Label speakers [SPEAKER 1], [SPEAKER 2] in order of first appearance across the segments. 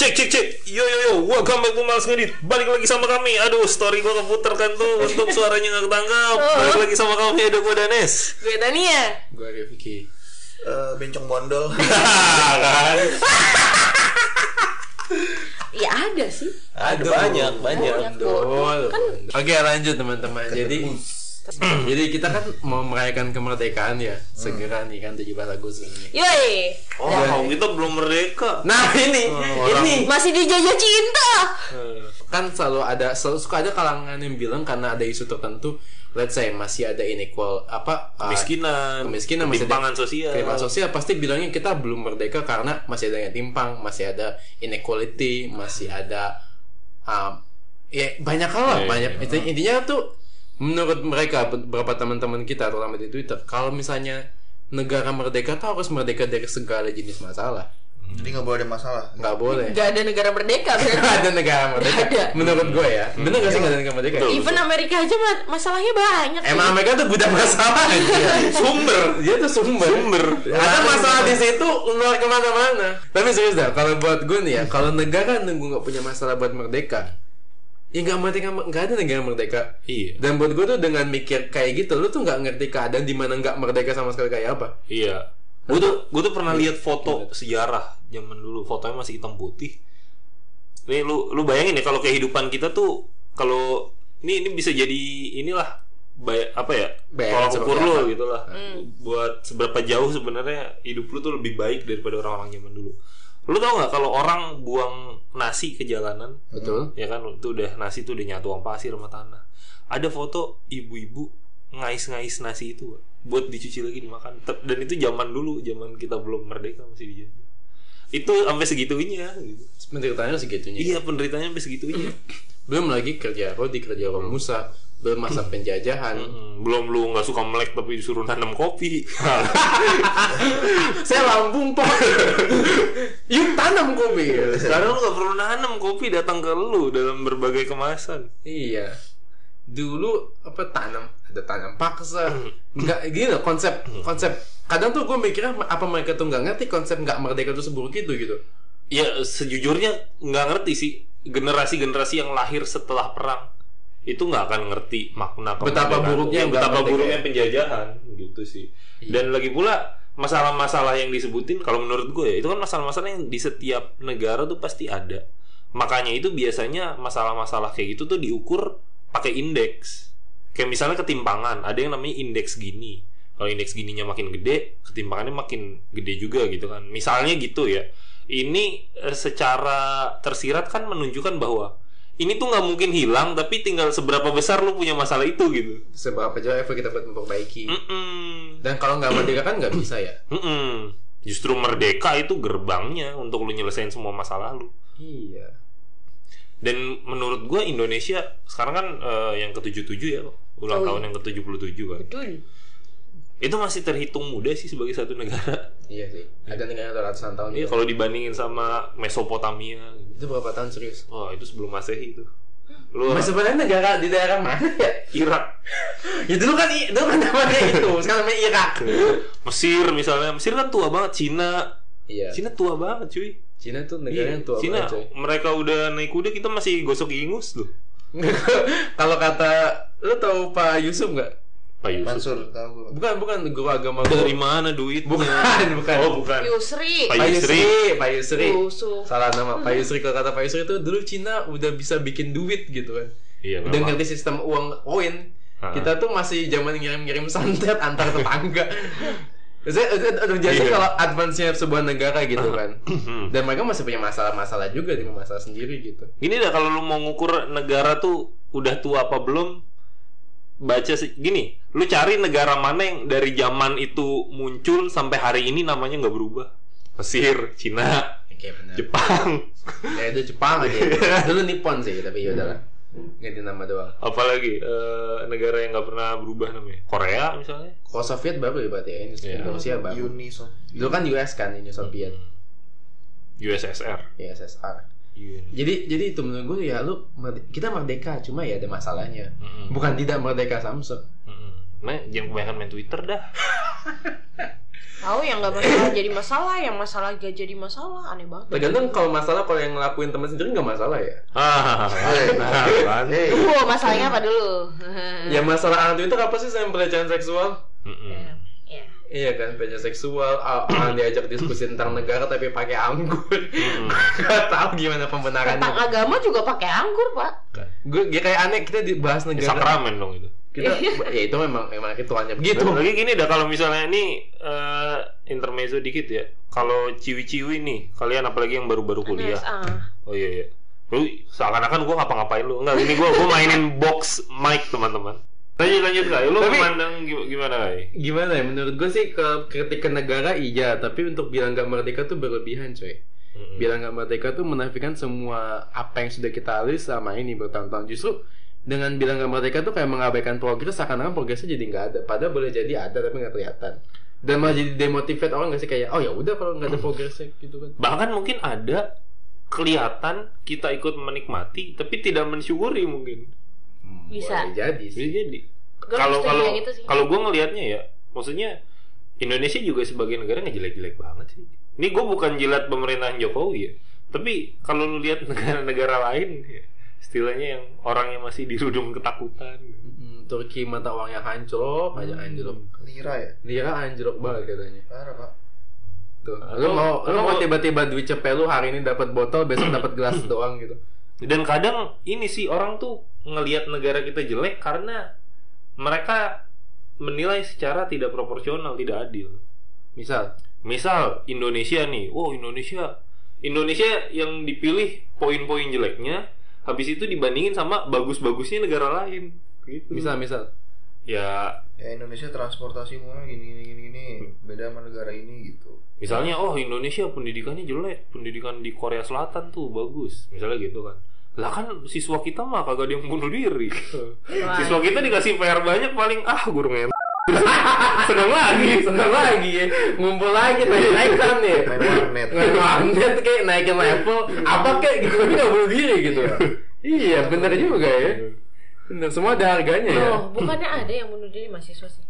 [SPEAKER 1] Cek cek cek. Yo yo yo, gua comeback pemalas ngedit. Balik lagi sama kami. Aduh, story gua keputar kan tuh untuk suaranya nggak ketangkap. Balik lagi sama kami ada gua Danes.
[SPEAKER 2] Gue ya? Tania.
[SPEAKER 3] Gue ada Vicky
[SPEAKER 4] Eh, bencong bondol
[SPEAKER 1] kan.
[SPEAKER 2] Ya ada sih.
[SPEAKER 1] Ada banyak, banyak.
[SPEAKER 3] Dol Oke lanjut teman-teman
[SPEAKER 1] Kan
[SPEAKER 3] Jadi jadi kita kan mau merayakan kemerdekaan ya Segera nih kan 17 Agustus ini
[SPEAKER 2] Yoi.
[SPEAKER 1] Oh, kita belum merdeka.
[SPEAKER 3] Nah ini Ini
[SPEAKER 2] Masih dijajah cinta.
[SPEAKER 3] Kan selalu ada Selalu suka ada kalangan yang bilang Karena ada isu tertentu Let's say masih ada inequal Apa uh,
[SPEAKER 1] Kemiskinan,
[SPEAKER 3] Kemiskinan masih ada-
[SPEAKER 1] ketimpangan sosial.
[SPEAKER 3] ketimpangan sosial pasti bilangnya kita belum merdeka karena masih ada yang timpang, masih ada inequality, masih ada um, ya banyak hal lah,
[SPEAKER 1] Iya,
[SPEAKER 3] banyak. Inti- Intinya tuh menurut mereka beberapa teman-teman kita terutama di Twitter, kalau misalnya negara merdeka tuh harus merdeka dari segala jenis masalah.
[SPEAKER 4] jadi nggak boleh ada masalah
[SPEAKER 3] nggak boleh.
[SPEAKER 2] Gak ada negara merdeka
[SPEAKER 3] Nggak
[SPEAKER 2] berarti.
[SPEAKER 3] ada negara merdeka.
[SPEAKER 2] Nggak ada.
[SPEAKER 3] Menurut gue ya. Bener gak sih nggak ada negara merdeka?
[SPEAKER 1] Betul.
[SPEAKER 2] Even Amerika aja ma- masalahnya banyak.
[SPEAKER 3] Emang mereka tuh gudang masalah aja.
[SPEAKER 1] Sumber.
[SPEAKER 3] dia tuh Iya, sumber sumber ada masalah di situ luar kemana-mana tapi serius dah kalau buat gue nih ya kalau negara nunggu nggak punya masalah buat merdeka ya nggak merdeka nggak ada negara merdeka
[SPEAKER 1] Iya.
[SPEAKER 3] dan buat gue tuh dengan mikir kayak gitu lu tuh nggak ngerti keadaan di mana nggak merdeka sama sekali kayak apa
[SPEAKER 1] Iya. Gue tuh gue tuh pernah lihat foto sejarah zaman dulu fotonya masih hitam putih. Nih lu lu bayangin ya kalau kehidupan kita tuh kalau ini ini bisa jadi inilah bay- apa ya
[SPEAKER 3] Bayangan
[SPEAKER 1] tolak ukur
[SPEAKER 3] seperti
[SPEAKER 1] lu
[SPEAKER 3] apa.
[SPEAKER 1] gitu lah buat seberapa jauh sebenarnya hidup lu tuh lebih baik daripada orang-orang zaman dulu lu tau nggak kalau orang buang nasi ke jalanan
[SPEAKER 3] betul
[SPEAKER 1] ya kan itu udah nasi tuh udah nyatu sama pasir sama tanah ada foto ibu-ibu ngais-ngais nasi itu Wak. buat dicuci lagi dimakan Ter- dan itu zaman dulu zaman kita belum merdeka masih dijajah itu sampai segitunya gitu.
[SPEAKER 3] penderitaannya segitunya
[SPEAKER 1] iya penderitanya sampai segitunya
[SPEAKER 3] belum lagi kerja Rodi kerja Romusa Musa belum masa penjajahan
[SPEAKER 1] Mm, belum lu nggak suka melek tapi disuruh nanam kopi
[SPEAKER 3] saya lambung pak yuk tanam kopi
[SPEAKER 1] sekarang lu nggak perlu nanam kopi datang ke lu dalam berbagai kemasan
[SPEAKER 3] Iya. Dulu apa tanam ada tanam paksa.
[SPEAKER 1] Hmm.
[SPEAKER 3] Enggak gini loh konsep konsep. Kadang tuh gue mikirnya apa mereka tuh nggak ngerti konsep nggak merdeka tuh seburuk itu gitu.
[SPEAKER 1] ya sejujurnya nggak ngerti sih generasi-generasi yang lahir setelah perang itu nggak akan ngerti makna
[SPEAKER 3] Betapa
[SPEAKER 1] kemerdekaan.
[SPEAKER 3] buruknya Iya.
[SPEAKER 1] Ya,
[SPEAKER 3] nggak
[SPEAKER 1] betapa
[SPEAKER 3] merdeka
[SPEAKER 1] buruknya
[SPEAKER 3] ya.
[SPEAKER 1] penjajahan gitu sih dan lagi pula masalah-masalah yang disebutin kalau menurut gue ya, itu kan masalah-masalah yang di setiap negara tuh pasti ada makanya itu biasanya masalah-masalah kayak gitu tuh diukur pakai indeks kayak misalnya ketimpangan ada yang namanya indeks gini kalau indeks gininya makin gede ketimpangannya makin gede juga gitu kan misalnya gitu ya ini eh, secara tersirat kan menunjukkan bahwa ini tuh nggak mungkin hilang tapi tinggal seberapa besar lu punya masalah itu gitu
[SPEAKER 3] Seberapa jauh effort kita buat memperbaiki.
[SPEAKER 1] Hmm. Mm-mm.
[SPEAKER 3] Dan kalau nggak merdeka kan nggak bisa ya.
[SPEAKER 1] Mm-mm. Justru merdeka itu gerbangnya untuk lu nyelesain semua masalah lu.
[SPEAKER 3] Iya.
[SPEAKER 1] Dan menurut gua Indonesia sekarang kan eh, yang ke-77 ya,
[SPEAKER 2] Oh,
[SPEAKER 1] ulang
[SPEAKER 3] iya.
[SPEAKER 1] tahun yang ke-77 kan.
[SPEAKER 2] Betul.
[SPEAKER 1] Itu masih terhitung muda sih sebagai satu negara.
[SPEAKER 3] Iya sih. Ada negara yang ratusan tahun.
[SPEAKER 1] Iya,
[SPEAKER 3] Iya.
[SPEAKER 1] kalau dibandingin sama Mesopotamia. gitu.
[SPEAKER 3] Itu berapa tahun serius?
[SPEAKER 1] Wah, itu sebelum Masehi itu. Lu
[SPEAKER 3] Mas sebenarnya negara di daerah mana ya?
[SPEAKER 1] Irak,
[SPEAKER 3] Ya dulu kan i- dulu kan namanya itu, sekarang namanya Irak.
[SPEAKER 1] Mesir misalnya. Mesir kan tua banget, Cina.
[SPEAKER 3] Iya. Cina,
[SPEAKER 1] Cina tua banget, cuy.
[SPEAKER 3] tuh negara yang tua
[SPEAKER 1] Cina,
[SPEAKER 3] banget. coy.
[SPEAKER 1] mereka udah naik kuda, kita masih gosok ingus loh.
[SPEAKER 3] kalau kata lu tahu Pak Yusuf nggak?
[SPEAKER 1] Pak Yusuf.
[SPEAKER 4] Mansur tahu gue
[SPEAKER 3] Bukan, bukan guru agama gua.
[SPEAKER 1] Dari mana duitnya?
[SPEAKER 3] Bukan, bukan.
[SPEAKER 1] Oh, bukan.
[SPEAKER 2] Yusri.
[SPEAKER 1] Pak
[SPEAKER 3] Pak
[SPEAKER 1] Yusri. Oh.
[SPEAKER 3] Yusri, Pak Yusri.
[SPEAKER 2] Yusuf.
[SPEAKER 3] Salah nama Pak Yusri kalau kata Pak Yusri itu dulu Cina udah bisa bikin duit gitu kan.
[SPEAKER 1] Iya, Ah.
[SPEAKER 3] Udah ngerti sistem uang koin.
[SPEAKER 1] Ha.
[SPEAKER 3] Kita tuh masih zaman ngirim-ngirim santet antar tetangga. Saya udah jadi
[SPEAKER 1] Iya.
[SPEAKER 3] kalau advance-nya sebuah negara gitu kan.
[SPEAKER 1] Hmm.
[SPEAKER 3] Dan mereka masih punya masalah-masalah juga dengan masalah sendiri gitu.
[SPEAKER 1] Gini dah kalau lu mau ngukur negara tuh udah tua apa belum baca se- gini, lu cari negara mana yang dari zaman itu muncul sampai hari ini namanya nggak berubah. Mesir, Cina,
[SPEAKER 3] Oke, benar.
[SPEAKER 1] Jepang,
[SPEAKER 3] Ya itu Jepang aja.
[SPEAKER 1] Iya.
[SPEAKER 3] dulu Nippon sih, tapi ya udahlah.
[SPEAKER 1] Hmm.
[SPEAKER 3] Ganti nama doang.
[SPEAKER 1] apalagi eh, negara yang nggak pernah berubah namanya. Korea misalnya.
[SPEAKER 3] Kalau Soviet baru ya berarti ya, ini
[SPEAKER 1] Iya.
[SPEAKER 3] Rusia baru.
[SPEAKER 4] Uni so
[SPEAKER 3] Dulu kan US kan Uni Soviet,
[SPEAKER 1] Hmm. USSR.
[SPEAKER 3] USSR.
[SPEAKER 1] Uni.
[SPEAKER 3] Jadi jadi itu menurut gue ya lu merde- kita merdeka cuma ya ada masalahnya.
[SPEAKER 1] Mm-mm.
[SPEAKER 3] Bukan tidak merdeka Samsung.
[SPEAKER 1] Hmm. Mm-mm. Nah, jangan kebanyakan main Twitter dah.
[SPEAKER 2] Tahu yang nggak masalah jadi masalah, yang masalah gak jadi masalah, aneh banget.
[SPEAKER 3] Tergantung kalau masalah kalau yang ngelakuin teman sendiri nggak masalah ya.
[SPEAKER 1] Ah, nah, kan.
[SPEAKER 4] Hey.
[SPEAKER 2] Wow, Oh, masalahnya apa dulu?
[SPEAKER 3] Ya masalah antu itu apa sih selain pelecehan seksual?
[SPEAKER 1] Mm-mm.
[SPEAKER 2] Ya, ya.
[SPEAKER 3] Iya kan, pelecehan seksual, Aan diajak diskusi tentang negara tapi pakai anggur. Gak tahu
[SPEAKER 2] Tentang
[SPEAKER 5] Iya.
[SPEAKER 3] gimana pembenarannya.
[SPEAKER 2] agama juga pakai anggur, Pak.
[SPEAKER 3] Gue gue kayak aneh kita dibahas
[SPEAKER 1] Ya,
[SPEAKER 3] negara.
[SPEAKER 1] sakramen dong itu.
[SPEAKER 3] Kita ya itu memang memang Gitu. itu hanya begitu.
[SPEAKER 1] Dan lagi gini dah kalau misalnya ini eh, intermezzo dikit ya. Kalau ciwi-ciwi nih, kalian apalagi yang baru-baru kuliah.
[SPEAKER 2] Terus, ah.
[SPEAKER 1] Oh iya iya. Lu seakan-akan gua ngapa-ngapain lu. Enggak, ini gua gua mainin box mic, teman-teman. Lanjut lanjut Kai. Lu
[SPEAKER 3] Tapi-
[SPEAKER 1] memandang gi- gimana Kai?
[SPEAKER 3] Gimana ya menurut gue sih ke kritik ke negara iya, tapi untuk bilang gak merdeka tuh berlebihan coy.
[SPEAKER 1] Mm-mm.
[SPEAKER 3] Bilang gak merdeka tuh menafikan semua apa yang sudah kita alami selama ini bertahun-tahun justru dengan bilang gak merdeka tuh kayak mengabaikan progres seakan-akan progresnya jadi nggak ada padahal boleh jadi ada tapi nggak kelihatan dan malah jadi demotivate orang gak sih kayak oh ya udah kalau nggak ada progresnya gitu kan
[SPEAKER 1] Bahkan mungkin ada kelihatan kita ikut menikmati tapi tidak mensyukuri mungkin.
[SPEAKER 3] Hmm,
[SPEAKER 2] Bisa.
[SPEAKER 3] boleh jadi sih
[SPEAKER 1] Bisa jadi.
[SPEAKER 2] Gua
[SPEAKER 1] Kalau
[SPEAKER 2] setuju
[SPEAKER 1] kalau
[SPEAKER 2] yang
[SPEAKER 5] gitu
[SPEAKER 2] itu sih.
[SPEAKER 1] kalau gua ngelihatnya ya, maksudnya Indonesia juga sebagai negara nggak jelek-jelek banget sih. Ini gue bukan jilat pemerintahan Jokowi ya, tapi kalau lu lihat negara-negara lain, ya, istilahnya yang orangnya masih dirudung ketakutan.
[SPEAKER 3] Hmm, Turki mata uangnya hancur aja anjlok
[SPEAKER 4] Lira ya?
[SPEAKER 3] dia kan anjlok banget katanya
[SPEAKER 4] Parah, Pak.
[SPEAKER 3] tuh
[SPEAKER 1] Atau-
[SPEAKER 3] Gitu. lu mau lu
[SPEAKER 1] atau-
[SPEAKER 3] mau tiba-tiba duit cepet lu hari ini dapat botol besok dapat gelas doang gitu
[SPEAKER 1] Dan kadang ini sih orang tuh ngelihat negara kita jelek karena mereka menilai secara tidak proporsional, tidak adil.
[SPEAKER 3] misal
[SPEAKER 1] Misal Indonesia nih, wow Indonesia, Indonesia yang dipilih poin-poin jeleknya, habis itu dibandingin sama bagus-bagusnya negara lain. Gitu.
[SPEAKER 3] misal misal
[SPEAKER 1] ya
[SPEAKER 4] Ya Indonesia transportasi umumnya gini gini gini gini.
[SPEAKER 3] Hmm.
[SPEAKER 4] Beda sama negara ini gitu.
[SPEAKER 1] misalnya oh Indonesia pendidikannya jelek, pendidikan di Korea Selatan tuh bagus, misalnya gitu kan. Lah kan siswa kita mah kagak ada yang bunuh diri. siswa kita dikasih PR banyak paling ah guru ngen. Seneng lagi.
[SPEAKER 3] seneng lagi ya ngumpul lagi naik naik kan nih
[SPEAKER 4] Main warnet.
[SPEAKER 3] naik warnet kayak naikin level apa kayak gitu tapi nggak bunuh diri gitu iya bener juga ya bener semua ada harganya ya
[SPEAKER 2] Loh, bukannya ada yang bunuh diri mahasiswa sih?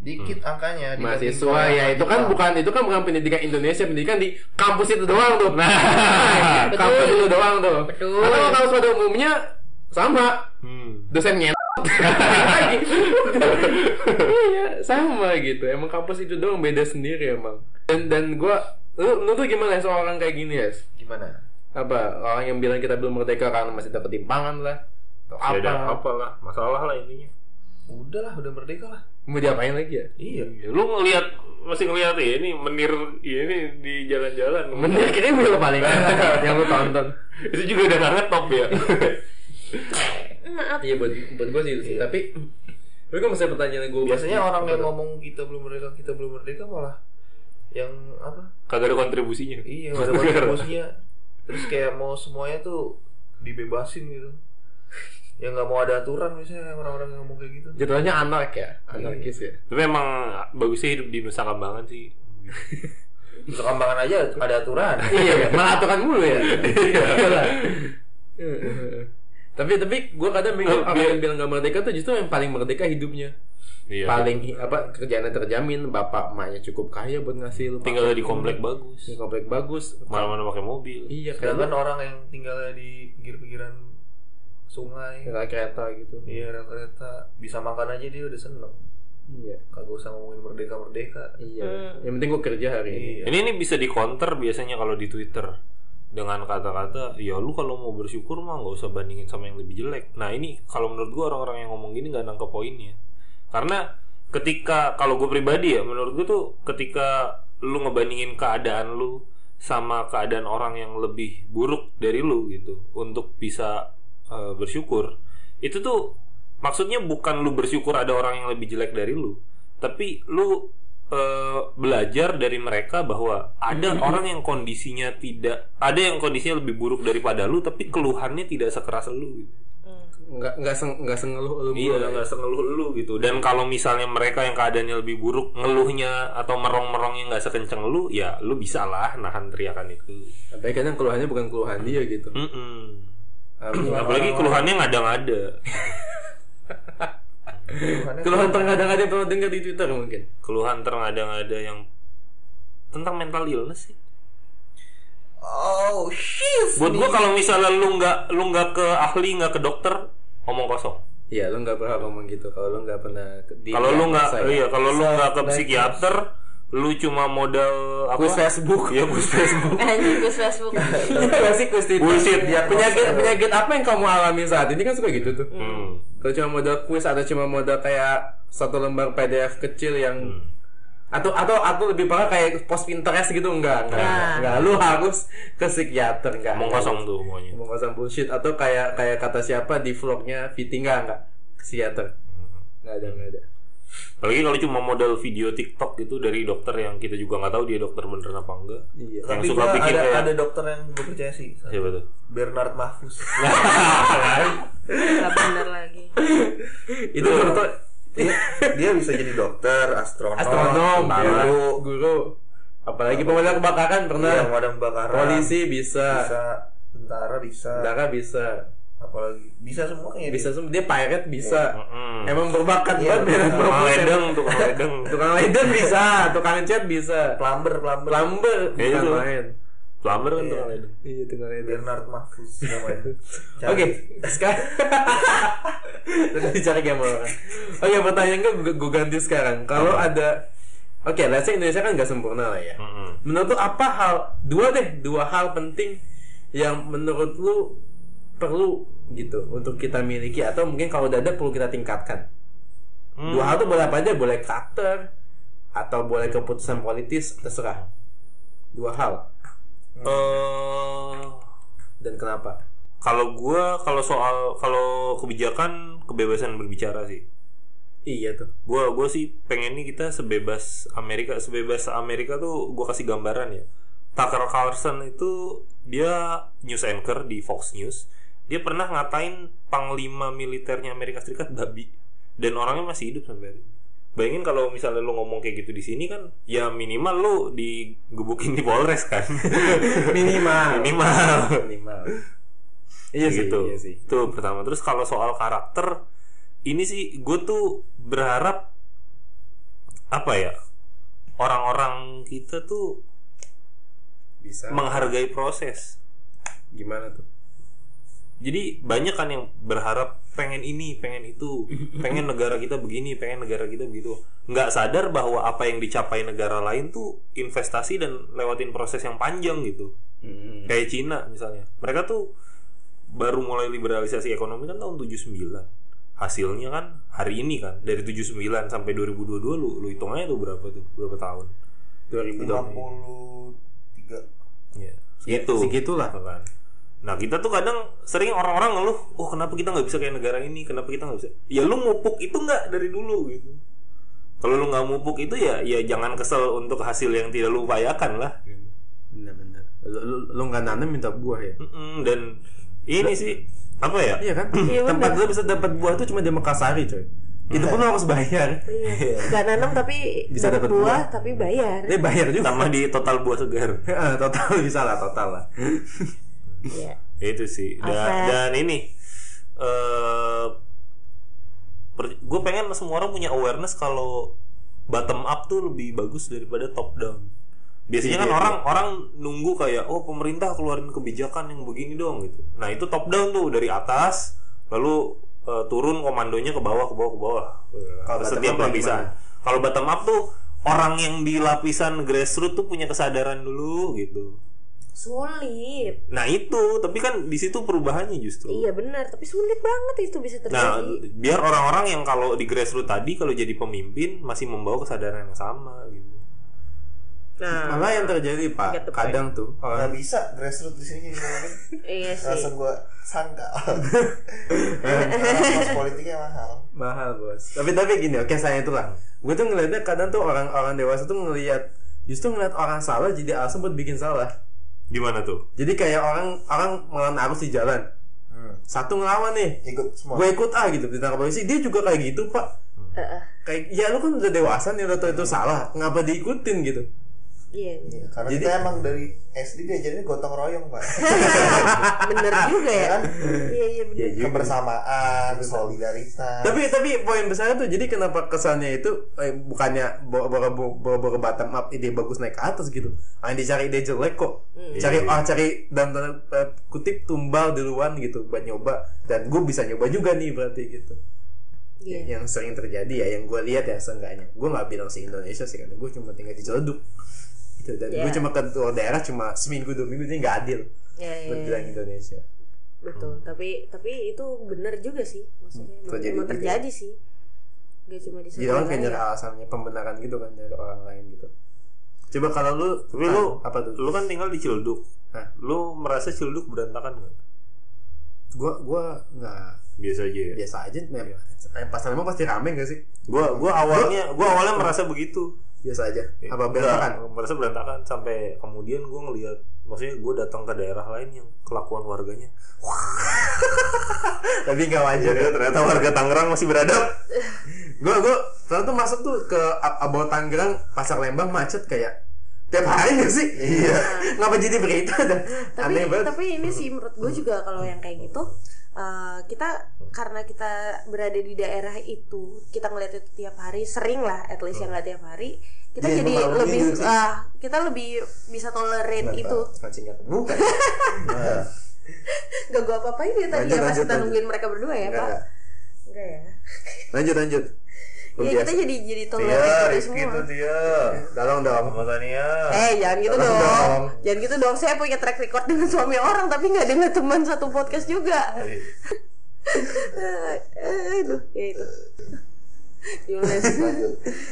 [SPEAKER 4] Dikit angkanya dibanding
[SPEAKER 3] Hmm. mahasiswa
[SPEAKER 4] Korea.
[SPEAKER 3] ya itu kan bukan itu kan bukan pendidikan Indonesia pendidikan di kampus itu doang tuh nah
[SPEAKER 2] betul.
[SPEAKER 3] kampus itu doang tuh
[SPEAKER 2] Betul.
[SPEAKER 3] Atau kalau kampus pada umumnya sama
[SPEAKER 1] Hmm.
[SPEAKER 3] dosen nyet lagi iya sama gitu emang kampus itu doang beda sendiri emang dan dan gua lu, lu tuh gimana ya soal orang kayak gini ya
[SPEAKER 4] Gimana?
[SPEAKER 3] apa orang yang bilang kita belum merdeka karena masih dapat timpangan lah atau apa
[SPEAKER 1] Apa? Ya apa lah, masalah lah intinya.
[SPEAKER 4] Udahlah, udah merdeka lah.
[SPEAKER 3] mau diapain lagi ya
[SPEAKER 1] Iya. Lu ngelihat masih ngelihat ya ini menir ya ini di jalan-jalan.
[SPEAKER 3] menurut kira gue paling enak yang lu tonton
[SPEAKER 1] Itu juga udah nggak ngetop ya.
[SPEAKER 2] Maaf.
[SPEAKER 3] iya Iya. buat buat gue sih itu sih tapi tapi gue masih pertanyaan gue
[SPEAKER 4] Biasanya orang yang ngomong kita belum merdeka, kita belum merdeka malah yang apa?
[SPEAKER 1] Kagak ada kontribusinya.
[SPEAKER 4] Iya, nggak ada kontribusinya. Terus kayak mau semuanya tuh dibebasin gitu. Yang nggak mau ada aturan misalnya orang-orang yang ngomong kayak gitu.
[SPEAKER 3] jadinya anak ya anarkis ya
[SPEAKER 1] Tapi emang bagusnya hidup di Nusa Kambangan sih.
[SPEAKER 4] Di kambangan aja ada aturan.
[SPEAKER 3] iya malah aturan mulu ya Iya lah. tapi tapi gue kadang mikir
[SPEAKER 1] Oh,
[SPEAKER 3] orang yang bilang gak merdeka tuh justru yang paling merdeka hidupnya
[SPEAKER 1] Iya.
[SPEAKER 3] paling hi- apa kerjaannya terjamin bapak emaknya cukup kaya buat ngasih lu
[SPEAKER 1] tinggal di komplek bagus.
[SPEAKER 3] Di komplek bagus
[SPEAKER 1] Mana-mana pakai mobil.
[SPEAKER 3] iya
[SPEAKER 4] Sedangkan
[SPEAKER 3] kayak
[SPEAKER 4] Ya, orang yang tinggalnya di pinggir-pinggiran sungai,
[SPEAKER 3] rel kereta gitu
[SPEAKER 4] iya rel kereta, bisa makan aja dia udah seneng.
[SPEAKER 3] iya
[SPEAKER 4] Kagak usah ngomongin merdeka-merdeka.
[SPEAKER 3] iya
[SPEAKER 1] Eh.
[SPEAKER 3] yang penting gue kerja hari ini
[SPEAKER 4] Iya.
[SPEAKER 1] Ini ini bisa di counter biasanya kalau di Twitter dengan kata-kata ya lu kalau mau bersyukur mah nggak usah bandingin sama yang lebih jelek. Nah ini kalau menurut gua orang-orang yang ngomong gini nggak nangkep poinnya. Karena ketika kalau gue pribadi ya menurut gue tuh ketika lu ngebandingin keadaan lu sama keadaan orang yang lebih buruk dari lu gitu untuk bisa eh, bersyukur itu tuh maksudnya bukan lu bersyukur ada orang yang lebih jelek dari lu tapi lu eh, belajar dari mereka bahwa ada orang yang kondisinya tidak ada yang kondisinya lebih buruk daripada lu tapi keluhannya tidak sekeras lu gitu.
[SPEAKER 3] nggak nggak seng nggak sengeluh lu mulu
[SPEAKER 1] Iya,
[SPEAKER 3] ya.
[SPEAKER 1] nggak sengeluh lu gitu. Dan kalau misalnya mereka yang keadaannya lebih buruk, ngeluhnya atau merong-merongnya nggak sekenceng lu, ya lu bisa lah nahan teriakan itu.
[SPEAKER 3] tapi kadang keluhannya bukan keluhan dia gitu
[SPEAKER 1] Mm-mm.
[SPEAKER 3] Apa-
[SPEAKER 1] Apalagi keluhannya ngada-ngada.
[SPEAKER 4] Keluhannya
[SPEAKER 3] keluhan tengah kadang ada yang pernah dengar di twitter mungkin
[SPEAKER 1] Keluhan terngada-ngada yang tentang mental illness sih?
[SPEAKER 4] Oh, shit.
[SPEAKER 1] Buat gua kalau misalnya lu nggak lu nggak ke ahli nggak ke dokter omong kosong.
[SPEAKER 3] Iya, lu nggak pernah ngomong gitu kalau lu nggak pernah ke- di
[SPEAKER 1] Kalau lu nggak
[SPEAKER 4] ya.
[SPEAKER 3] saya.
[SPEAKER 1] iya kalau lu nggak ke
[SPEAKER 4] Self-diagnose.
[SPEAKER 1] psikiater lu cuma modal apa?
[SPEAKER 3] Quiz Facebook.
[SPEAKER 1] Iya quiz Facebook.
[SPEAKER 2] Anjing gue Facebook.
[SPEAKER 3] Iya sih quiz Twitter. Iya.
[SPEAKER 1] Bullshit.
[SPEAKER 3] Penyakit penyakit apa yang kamu alami saat ini kan suka gitu tuh.
[SPEAKER 1] Hmm.
[SPEAKER 3] Kalau cuma modal quiz atau cuma modal kayak satu lembar PDF kecil yang atau atau atau lebih parah kayak post Pinterest gitu enggak enggak, enggak,
[SPEAKER 2] Nah.
[SPEAKER 3] enggak. lu harus ke psikiater enggak
[SPEAKER 1] Omong kosong tuh pokoknya.
[SPEAKER 3] mau kosong bullshit atau kayak kayak kata siapa di vlognya Viti enggak enggak ke psikiater enggak ada enggak ada
[SPEAKER 1] Apalagi kalau cuma modal video TikTok gitu dari dokter yang kita juga nggak tahu dia dokter beneran apa enggak. Iya,
[SPEAKER 3] iya
[SPEAKER 1] Yang
[SPEAKER 4] Tapi
[SPEAKER 1] suka
[SPEAKER 4] gua
[SPEAKER 1] bikin
[SPEAKER 4] ada,
[SPEAKER 1] kayak-
[SPEAKER 4] ada dokter yang gue percaya sih.
[SPEAKER 1] Siapa tuh?
[SPEAKER 4] Bernard Mahfuz.
[SPEAKER 2] Gak bener lagi.
[SPEAKER 3] itu dokter
[SPEAKER 4] dia, dia bisa jadi dokter, astronom,
[SPEAKER 3] astronom
[SPEAKER 4] guru,
[SPEAKER 3] Oh, guru guru apalagi pemadam kebakaran pernah
[SPEAKER 4] iya, pemadam kebakaran,
[SPEAKER 3] polisi iya. bisa
[SPEAKER 4] bisa, tentara bisa,
[SPEAKER 3] tentara bisa
[SPEAKER 4] apalagi bisa semuanya.
[SPEAKER 3] bisa
[SPEAKER 4] dia.
[SPEAKER 3] semua dia pirate bisa
[SPEAKER 1] Hmm.
[SPEAKER 3] emang berbakat
[SPEAKER 4] Iya,
[SPEAKER 3] banget
[SPEAKER 4] bener.
[SPEAKER 3] bener
[SPEAKER 1] Tukang
[SPEAKER 3] berbakat.
[SPEAKER 1] ledeng, tukang ledeng.
[SPEAKER 3] tukang leden bisa tukang cat bisa
[SPEAKER 6] Iya,
[SPEAKER 4] Plumber, plumber,
[SPEAKER 3] plumber
[SPEAKER 1] Iya,
[SPEAKER 3] bukan
[SPEAKER 1] itu.
[SPEAKER 3] main
[SPEAKER 1] Plumber kan tukang ledeng.
[SPEAKER 3] iya tukang leden
[SPEAKER 4] Bernard Mahfuz namanya. Cari.
[SPEAKER 3] Oke, sekarang Tadi dicari game orang. Hmm. Oke, pertanyaan gue gue- gue ganti sekarang. Kalau ada Oke, let's say Indonesia kan nggak sempurna lah ya.
[SPEAKER 1] Mm-mm.
[SPEAKER 3] Menurut lu apa hal dua deh, dua hal penting yang menurut lu perlu gitu untuk kita miliki atau mungkin kalau udah ada perlu kita tingkatkan. Dua hal tuh boleh apa aja, boleh karakter atau boleh keputusan politis terserah. Dua hal
[SPEAKER 1] Eh,
[SPEAKER 3] dan kenapa?
[SPEAKER 1] kalau gua kalau soal kalau kebijakan kebebasan berbicara sih.
[SPEAKER 3] Iya tuh.
[SPEAKER 1] Gua gua sih pengen nih kita sebebas Amerika sebebas Amerika tuh gua kasih gambaran ya. Tucker Carlson itu dia news anchor di Fox News. Dia pernah ngatain panglima militernya Amerika Serikat babi dan orangnya masih hidup sampai hari ini. Bayangin kalau misalnya lu ngomong kayak gitu di sini kan, ya minimal lu digebukin di Polres kan.
[SPEAKER 3] Minimal.
[SPEAKER 1] minimal.
[SPEAKER 3] Minimal. Iya sih,
[SPEAKER 1] gitu.
[SPEAKER 3] iya sih.
[SPEAKER 1] Itu pertama. Terus kalau soal karakter, ini sih gue tuh berharap apa ya orang-orang kita tuh
[SPEAKER 3] Bisa.
[SPEAKER 1] menghargai proses.
[SPEAKER 3] Gimana tuh?
[SPEAKER 1] Jadi banyak kan yang berharap pengen ini, pengen itu, pengen negara kita begini, pengen negara kita begitu. Nggak sadar bahwa apa yang dicapai negara lain tuh investasi dan lewatin proses yang panjang gitu.
[SPEAKER 3] Hmm.
[SPEAKER 1] Kayak Cina misalnya. Mereka tuh baru mulai liberalisasi ekonomi kan tahun 79. Hasilnya kan hari ini kan dari 79 sampai 2022 lu lu hitung aja tuh berapa tuh berapa tahun.
[SPEAKER 3] 2000 dong.
[SPEAKER 4] 53
[SPEAKER 1] Ya,
[SPEAKER 3] Ya,
[SPEAKER 1] segitu.
[SPEAKER 3] segitulah.
[SPEAKER 1] Kan. Nah, kita tuh kadang sering orang-orang ngeluh, "Oh, kenapa kita nggak bisa kayak negara ini? Kenapa kita nggak bisa?" Ya lu mupuk itu nggak dari dulu gitu. Kalau lu nggak mupuk itu ya ya jangan kesel untuk hasil yang tidak lu upayakan lah.
[SPEAKER 3] Iya.
[SPEAKER 1] gitu.
[SPEAKER 3] Benar-benar. Lu lu, lu nggak nanam minta buah ya?
[SPEAKER 1] Mm-mm, dan ini sih apa ya?
[SPEAKER 3] Iya kan? Tempat lu bisa dapat buah tuh cuma di Mekarsari, coy. Itu pun lu harus bayar.
[SPEAKER 2] Iya. Gak nanam tapi
[SPEAKER 3] Bisa
[SPEAKER 2] dapat
[SPEAKER 3] dapat buah.
[SPEAKER 2] buah tapi bayar.
[SPEAKER 3] Dia Eh, bayar juga.
[SPEAKER 1] Tambah di total buah segar.
[SPEAKER 3] Eh, total bisa lah, total lah.
[SPEAKER 2] Iya.
[SPEAKER 1] Ya, itu sih Da-
[SPEAKER 2] Apa?
[SPEAKER 1] dan ini eh gue pengen semua orang punya awareness kalau bottom up tuh lebih bagus daripada top down biasanya kan
[SPEAKER 3] Iya.
[SPEAKER 1] orang orang nunggu kayak oh pemerintah keluarin kebijakan yang begini dong gitu nah itu top down tuh dari atas lalu eh, turun komandonya ke bawah ke bawah ke bawah
[SPEAKER 3] Kalau bottom
[SPEAKER 1] setiap
[SPEAKER 3] up kayak
[SPEAKER 1] lapisan kalau bottom up tuh orang yang di lapisan grassroots tuh punya kesadaran dulu gitu
[SPEAKER 2] Sulit.
[SPEAKER 1] Nah itu, tapi kan di situ perubahannya justru.
[SPEAKER 2] Iya benar, tapi sulit banget itu bisa
[SPEAKER 1] Nah,
[SPEAKER 2] terjadi.
[SPEAKER 1] biar orang-orang yang kalau di grassroots tadi kalau jadi pemimpin masih membawa kesadaran yang sama gitu.
[SPEAKER 2] Nah,
[SPEAKER 3] Malah yang terjadi,
[SPEAKER 2] Get the
[SPEAKER 3] Pak,
[SPEAKER 2] point.
[SPEAKER 3] kadang tuh
[SPEAKER 4] nggak
[SPEAKER 3] orang
[SPEAKER 4] bisa grassroots di sini ngomongin
[SPEAKER 2] iya sih.
[SPEAKER 4] langsung gua sangka Karena kos politiknya mahal
[SPEAKER 3] mahal, Bos. Tapi tapi gini, oke saya itu lah. Gue tuh ngeliatnya kadang tuh orang-orang dewasa tuh ngelihat justru ngeliat orang salah jadi alasan buat bikin salah.
[SPEAKER 1] Gimana tuh?
[SPEAKER 3] Jadi kayak orang orang melawan arus di jalan.
[SPEAKER 4] Hmm.
[SPEAKER 3] Satu ngelawan nih,
[SPEAKER 4] ikut semua
[SPEAKER 3] gue ikut ah gitu ditangkap polisi dia juga kayak gitu pak
[SPEAKER 2] Heeh.
[SPEAKER 3] kayak ya lu kan udah dewasa nih udah tau itu salah ngapa diikutin gitu
[SPEAKER 5] Iya,
[SPEAKER 6] Iya, karena
[SPEAKER 3] Jadi-
[SPEAKER 6] kita emang dari SD diajarinnya gotong royong pak
[SPEAKER 5] bener juga ya.
[SPEAKER 6] Kan?
[SPEAKER 5] Iya iya bener.
[SPEAKER 3] Iya juga.
[SPEAKER 6] kebersamaan solidaritas
[SPEAKER 3] Tapi tapi poin besarnya tuh jadi kenapa kesannya itu eh, bukannya bawa-bawa bottom up ide bagus naik ke atas gitu. Ah, yang dicari ide jelek kok. Cari ah cari dalam tanda eh, kutip tumbal duluan gitu buat nyoba dan gue bisa nyoba juga nih berarti gitu.
[SPEAKER 5] Iya.
[SPEAKER 3] Yang sering terjadi ya yang gue lihat ya seenggaknya. Gue nggak bilang se Indonesia sih karena gue cuma tinggal di Ciledug. Gitu, dan gue
[SPEAKER 5] Iya.
[SPEAKER 3] cuma ketua daerah cuma seminggu dua minggu ini nggak adil
[SPEAKER 5] Iya, iya,
[SPEAKER 3] buat
[SPEAKER 5] iya.
[SPEAKER 3] bilang Indonesia.
[SPEAKER 5] Betul. Tapi tapi itu bener juga sih maksudnya. Emang-
[SPEAKER 3] Hmm, Terjadi
[SPEAKER 5] emang
[SPEAKER 3] juga.
[SPEAKER 5] terjadi sih. Gak cuma di
[SPEAKER 3] Jadi
[SPEAKER 5] satu
[SPEAKER 3] orang kayak nyari
[SPEAKER 5] wilayah.
[SPEAKER 3] alasannya pembenaran gitu kan dari orang lain gitu. Coba kalau lu,
[SPEAKER 7] Tapi
[SPEAKER 3] ah,
[SPEAKER 7] lu
[SPEAKER 3] apa tuh?
[SPEAKER 7] Lu kan tinggal di Ciledug.
[SPEAKER 3] Hah?
[SPEAKER 7] Lu merasa Ciledug berantakan nggak?
[SPEAKER 3] Gua gua nggak
[SPEAKER 7] Biasa aja ya.
[SPEAKER 3] biasa aja. Mem. Eh, Pasar emang pasti rame gak sih?
[SPEAKER 7] Gua gua awalnya gua awalnya merasa begitu.
[SPEAKER 3] Biasa aja.
[SPEAKER 1] Iya.
[SPEAKER 3] Apa
[SPEAKER 7] Nggak,
[SPEAKER 3] berantakan?
[SPEAKER 7] Merasa berantakan sampai kemudian gua ngelihat maksudnya gua datang ke daerah lain yang kelakuan warganya.
[SPEAKER 3] Tapi nggak wajar.
[SPEAKER 1] Iya,
[SPEAKER 7] Jadi ternyata warga Tangerang masih beradab.
[SPEAKER 3] Gua gua soalnya tuh masuk tuh ke Abang Tangerang pasar Lembang macet kayak tiap hari gak sih? Iya. Ngapa jadi berita dah?
[SPEAKER 5] tapi
[SPEAKER 3] Aneh banget.
[SPEAKER 5] tapi ini sih menurut gue juga kalau yang kayak gitu eh, kita karena kita berada di daerah itu kita ngeliat itu tiap hari sering lah at least yang nggak tiap hari kita
[SPEAKER 6] Iya,
[SPEAKER 5] jadi
[SPEAKER 6] gua malu
[SPEAKER 5] lebih
[SPEAKER 6] gitu sih.
[SPEAKER 5] ah, kita lebih bisa tolerate
[SPEAKER 6] Kenapa?
[SPEAKER 5] itu Iya,
[SPEAKER 3] Kancingnya bukan.
[SPEAKER 6] Nah,
[SPEAKER 5] gak gue apa-apain ya tadi
[SPEAKER 3] Lanjut,
[SPEAKER 5] ya pas
[SPEAKER 3] lanjut,
[SPEAKER 5] kita
[SPEAKER 3] lanjut.
[SPEAKER 5] nungguin mereka berdua ya
[SPEAKER 3] Enggak,
[SPEAKER 5] pak
[SPEAKER 3] enggak.
[SPEAKER 5] enggak ya
[SPEAKER 3] Lanjut lanjut. Lu
[SPEAKER 5] ya
[SPEAKER 3] biasa. gitu
[SPEAKER 5] kita jadi jadi tolerate
[SPEAKER 1] Iya,
[SPEAKER 5] itu
[SPEAKER 1] Rifki
[SPEAKER 5] semua
[SPEAKER 1] tuh dia.
[SPEAKER 3] Dalam dalam.
[SPEAKER 5] Iya,
[SPEAKER 1] Sama Tania.
[SPEAKER 5] Eh jangan gitu dong.
[SPEAKER 3] Iya, dong.
[SPEAKER 5] Jangan gitu dong. Saya punya track record dengan suami orang tapi nggak dengan teman satu podcast juga.
[SPEAKER 3] Iya.
[SPEAKER 5] Eh, eh, Aduh, ya itu. Gimana sih?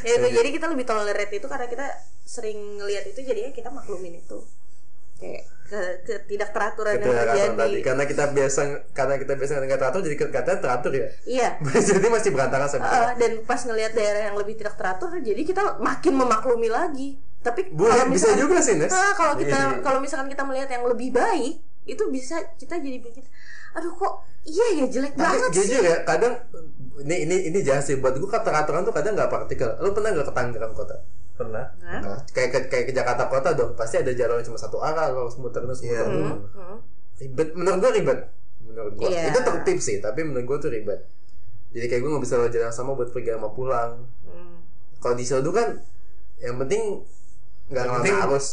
[SPEAKER 5] ya itu jadi kita lebih tolerate itu karena kita sering ngelihat itu jadinya kita maklumin itu. Kayak ke, ketidakteraturan yang
[SPEAKER 3] Ketika
[SPEAKER 5] terjadi.
[SPEAKER 3] teratur tadi karena kita biasa karena kita biasa nggak teratur jadi katanya teratur ya
[SPEAKER 5] Iya.
[SPEAKER 3] jadi masih berantakan sama
[SPEAKER 5] Eh, dan pas ngelihat daerah yang lebih tidak teratur jadi kita makin memaklumi lagi. Tapi
[SPEAKER 3] Bu,
[SPEAKER 5] kalau
[SPEAKER 3] bisa
[SPEAKER 5] misalkan-
[SPEAKER 3] juga sih Nes Iya.
[SPEAKER 5] Nah, kalau kita kalau misalkan kita melihat yang lebih baik, itu bisa kita jadi mikir, aduh kok iya ya jelek
[SPEAKER 3] Tapi
[SPEAKER 5] banget sih.
[SPEAKER 3] jujur ya kadang ini ini ini jahat sih buat gua keteraturan tuh kadang nggak praktikal lu pernah nggak ke Tangerang kota
[SPEAKER 1] Pernah.
[SPEAKER 3] nah, kayak ke, kayak ke Jakarta kota dong pasti ada jalan yang cuma satu arah kalau harus muter terus muter
[SPEAKER 6] Iya.
[SPEAKER 3] terus.
[SPEAKER 5] Hmm.
[SPEAKER 3] ribet menurut gua ribet menurut gua
[SPEAKER 5] Iya.
[SPEAKER 3] itu tertib sih tapi menurut gua tuh ribet jadi kayak gua nggak bisa lewat jalan yang sama buat pergi sama pulang
[SPEAKER 5] Hmm.
[SPEAKER 3] kalau di Solo kan yang penting nggak
[SPEAKER 1] Yang
[SPEAKER 3] ngelawan
[SPEAKER 1] penting-
[SPEAKER 3] arus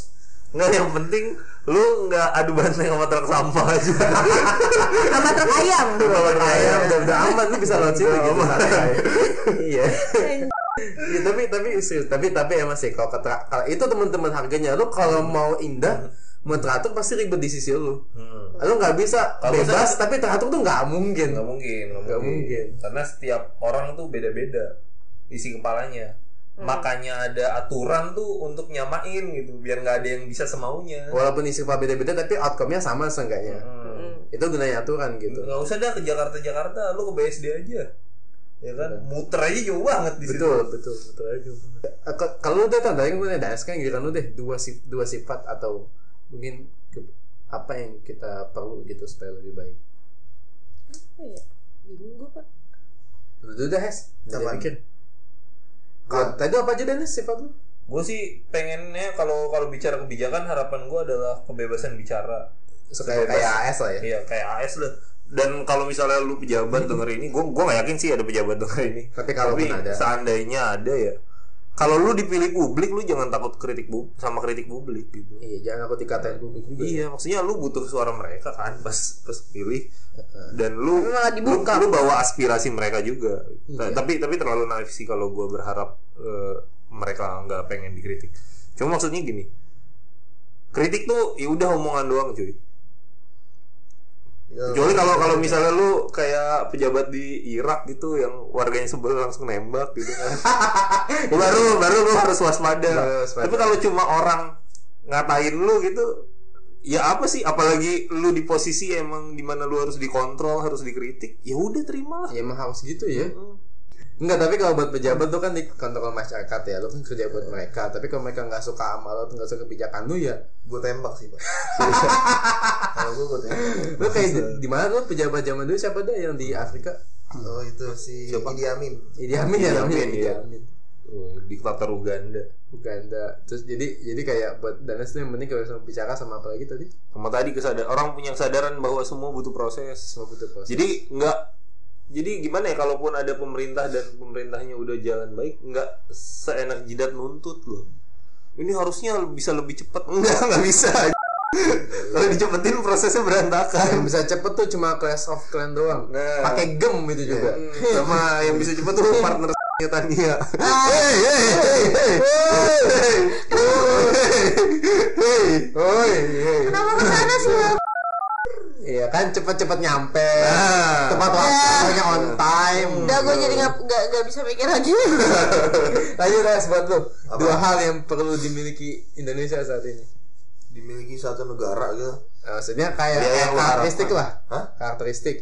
[SPEAKER 1] Enggak Nah, yang penting lu nggak adu banteng sama truk sampah aja.
[SPEAKER 5] Sama truk ayam.
[SPEAKER 3] kalau kaya udah udah aman lu bisa lewat situ gitu santai. iya Iya, tapi tapi serius tapi tapi emang sih kalau kata kalau itu teman-teman harganya lu kalau
[SPEAKER 1] Hmm.
[SPEAKER 3] mau indah mau teratur pasti ribet di sisi lu lu nggak bisa
[SPEAKER 1] Kalau
[SPEAKER 3] bebas tapi teratur tuh nggak
[SPEAKER 1] Hmm.
[SPEAKER 3] mungkin
[SPEAKER 1] Nggak mungkin,
[SPEAKER 3] Nggak
[SPEAKER 1] nggak
[SPEAKER 3] mungkin.
[SPEAKER 1] mungkin. Karena setiap orang tuh beda-beda isi kepalanya. Makanya ada aturan tuh untuk nyamain gitu, biar nggak ada yang bisa semaunya.
[SPEAKER 3] walaupun isi kepala beda-beda tapi outcome-nya sama seenggaknya
[SPEAKER 1] Hmm.
[SPEAKER 3] itu gunanya aturan gitu
[SPEAKER 1] Nggak usah dah ke Jakarta-Jakarta, lu ke BSD aja. Ya kan, muter aja jauh banget di situ.
[SPEAKER 3] betul betul betul aja Eh, ke- kalau lu deh tandain gue nih das kan giliran lu deh dua sif- dua sifat atau mungkin ke- apa yang kita perlu gitu supaya lebih baik
[SPEAKER 5] Apa ya? Bingung gue pak.
[SPEAKER 3] lu dulu dah Hes
[SPEAKER 6] Apaan?
[SPEAKER 3] jangan mikir Gua- tadi apa aja Dennis sifat lu
[SPEAKER 1] Gue sih pengennya kalau kalau bicara kebijakan harapan gue adalah kebebasan bicara.
[SPEAKER 3] Suka
[SPEAKER 1] Bebas.
[SPEAKER 3] kayak AS lah ya
[SPEAKER 1] Iya kayak AS lah. Dan kalau misalnya lu pejabat denger ini, gue gue nggak yakin sih ada pejabat denger ini.
[SPEAKER 3] Hmm. Tapi kalaupun ada.
[SPEAKER 1] seandainya ada ya, kalau lu dipilih publik, lu jangan takut kritik bu sama kritik publik gitu.
[SPEAKER 3] iya jangan aku dikatain publik juga
[SPEAKER 1] Iya, maksudnya lu butuh suara mereka kan pas pas pilih dan lu
[SPEAKER 5] Malah
[SPEAKER 1] lu,
[SPEAKER 5] dibuka.
[SPEAKER 1] lu bawa aspirasi mereka juga. Ta-
[SPEAKER 3] Iya.
[SPEAKER 1] Tapi tapi terlalu naif sih kalau gue berharap eh, mereka nggak pengen dikritik. Cuma maksudnya gini, kritik tuh ya udah omongan doang cuy. Kecuali kalau kalau misalnya lu kayak pejabat di Irak gitu yang warganya sebel langsung nembak gitu kan. baru baru lu harus waspada.
[SPEAKER 4] Nah,
[SPEAKER 3] Baru waspada.
[SPEAKER 1] Tapi kalau cuma orang ngatain lu gitu ya apa sih apalagi lu di posisi emang dimana lu harus dikontrol harus dikritik ya udah terimalah
[SPEAKER 3] Ya, emang harus gitu ya Enggak, tapi kalau buat pejabat tuh kan di kontrol masyarakat ya Lu kan kerja buat mereka Tapi kalau mereka nggak suka sama lu, nggak suka kebijakan lu ya
[SPEAKER 6] gue tembak sih pak kalau gue gue tembak
[SPEAKER 3] Lu kayak di, di mana lu pejabat zaman dulu siapa dah yang di Afrika?
[SPEAKER 6] oh itu si Idi Amin
[SPEAKER 3] Idi Amin ya namanya
[SPEAKER 1] Amin,
[SPEAKER 3] Idi
[SPEAKER 1] iya.
[SPEAKER 3] Amin.
[SPEAKER 4] Oh, diktator Uganda
[SPEAKER 3] Uganda terus jadi jadi kayak buat Danes tuh yang penting kita harus bicara sama apa lagi tadi
[SPEAKER 1] sama tadi kesadaran orang punya kesadaran bahwa semua butuh proses
[SPEAKER 3] sama butuh proses
[SPEAKER 1] jadi nggak jadi gimana ya kalaupun ada pemerintah dan pemerintahnya udah jalan baik nggak seenak jidat nuntut loh ini harusnya bisa lebih cepat enggak nggak bisa kalau dicepetin prosesnya berantakan
[SPEAKER 3] yang bisa cepet tuh cuma class of clan doang
[SPEAKER 1] Iya. Nah. Hmm.
[SPEAKER 3] pakai gem itu juga
[SPEAKER 1] sama yang bisa cepet tuh partner
[SPEAKER 3] Iya, ya.
[SPEAKER 1] Tania. Hey, hey, hey, hey, hey, hey, hey, hey.
[SPEAKER 5] Kenapa ke sana semua?
[SPEAKER 3] iya kan cepet-cepet nyampe
[SPEAKER 1] Nah. Iya. Hmm.
[SPEAKER 3] tepat waktunya on time
[SPEAKER 5] Udah gue jadi nggak nggak nggak bisa mikir lagi.
[SPEAKER 3] lanjut guys buat lu dua hal yang perlu dimiliki Indonesia saat ini
[SPEAKER 6] dimiliki satu negara gitu
[SPEAKER 3] Nah, maksudnya kayak
[SPEAKER 6] Dia yang lu
[SPEAKER 3] karakteristik
[SPEAKER 6] harapkan.
[SPEAKER 3] lah
[SPEAKER 6] Hah?
[SPEAKER 3] karakteristik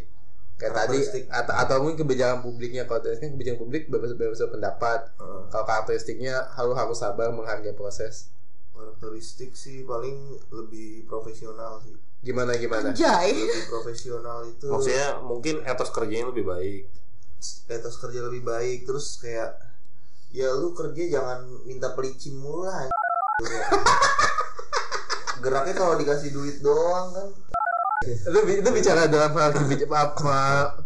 [SPEAKER 3] kayak tadi
[SPEAKER 6] Karakteristik.
[SPEAKER 3] atau, atau mungkin kebijakan publiknya kalau tadi kan kebijakan publik bebas bebas pendapat kalau karakteristiknya harus harus sabar menghargai proses
[SPEAKER 6] karakteristik sih paling lebih profesional sih
[SPEAKER 3] gimana gimana
[SPEAKER 5] Jai.
[SPEAKER 6] lebih profesional itu
[SPEAKER 1] Maksudnya mungkin etos kerjanya lebih baik.
[SPEAKER 6] etos kerja lebih baik terus kayak ya lu kerja jangan minta pelicin mulu lah anjing. geraknya kalau dikasih duit doang kan
[SPEAKER 3] lu, bi- lu bicara dalam hal kebija- apa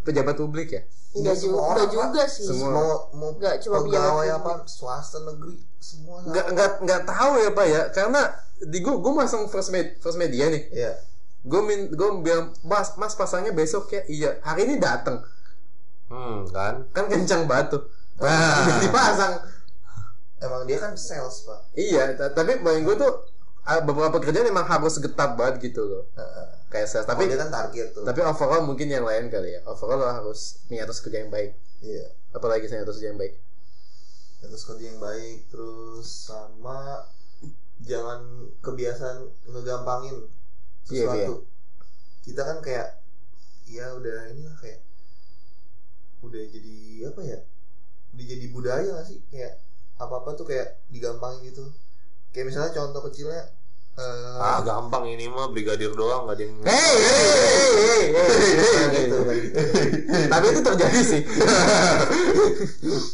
[SPEAKER 3] pejabat publik ya
[SPEAKER 5] Enggak
[SPEAKER 6] semua
[SPEAKER 5] juga,
[SPEAKER 6] orang,
[SPEAKER 5] enggak
[SPEAKER 6] Pak.
[SPEAKER 5] juga sih.
[SPEAKER 3] Semua.
[SPEAKER 6] mau mau
[SPEAKER 5] Nggak, cuma
[SPEAKER 6] pegawai
[SPEAKER 5] pejabat
[SPEAKER 6] apa swasta negeri semua sama.
[SPEAKER 3] nggak nggak nggak tahu ya pak ya karena di gua gua masang first med first media nih
[SPEAKER 6] Iya.
[SPEAKER 3] gua min gua bilang mas mas pasangnya besok ya iya hari ini datang
[SPEAKER 1] Hmm, kan?
[SPEAKER 3] kan kencang banget tuh Wah, dipasang
[SPEAKER 6] emang dia kan sales pak
[SPEAKER 3] Iya, ta- tapi bayang gue tuh ah, beberapa kerjaan emang harus getap banget gitu loh. Kayak sales,
[SPEAKER 6] tapi
[SPEAKER 3] tapi
[SPEAKER 6] dia kan target tuh
[SPEAKER 3] tapi overall mungkin yang lain kali ya. Overall lo harus punya atas kerja yang baik.
[SPEAKER 6] iya
[SPEAKER 3] Apalagi saya atas kerja yang baik.
[SPEAKER 6] etos kerja yang baik terus sama jangan kebiasaan ngegampangin
[SPEAKER 3] Iya,
[SPEAKER 6] sesuatu kita kan kayak ya udah inilah kayak udah jadi apa ya udah jadi budaya gak sih kayak apa apa tuh kayak digampangin gitu kayak misalnya contoh kecilnya eh,
[SPEAKER 1] Ah, gampang ini mah brigadir doang nggak ada yang
[SPEAKER 3] Hey, hey, hey, hey, hey, hey, hey,
[SPEAKER 6] gitu,
[SPEAKER 3] hey.
[SPEAKER 6] kayak gitu.
[SPEAKER 3] Tapi itu terjadi sih.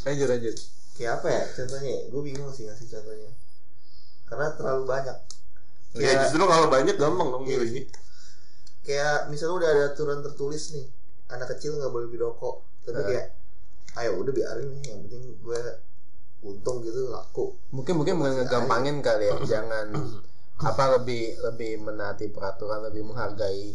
[SPEAKER 3] lanjut, lanjut.
[SPEAKER 6] kayak apa ya contohnya gue bingung sih ngasih contohnya karena terlalu banyak
[SPEAKER 1] Ya,
[SPEAKER 3] Iya,
[SPEAKER 1] justru kalau banyak gampang dong ya, milihnya.
[SPEAKER 6] kayak misalnya udah ada aturan tertulis nih anak kecil nggak boleh beli rokok tapi kayak ayo udah biarin nih yang penting gue untung gitu laku
[SPEAKER 3] Mungkin mungkin bukan ngegampangin kali ya. Jangan apa lebih lebih menaati peraturan, lebih menghargai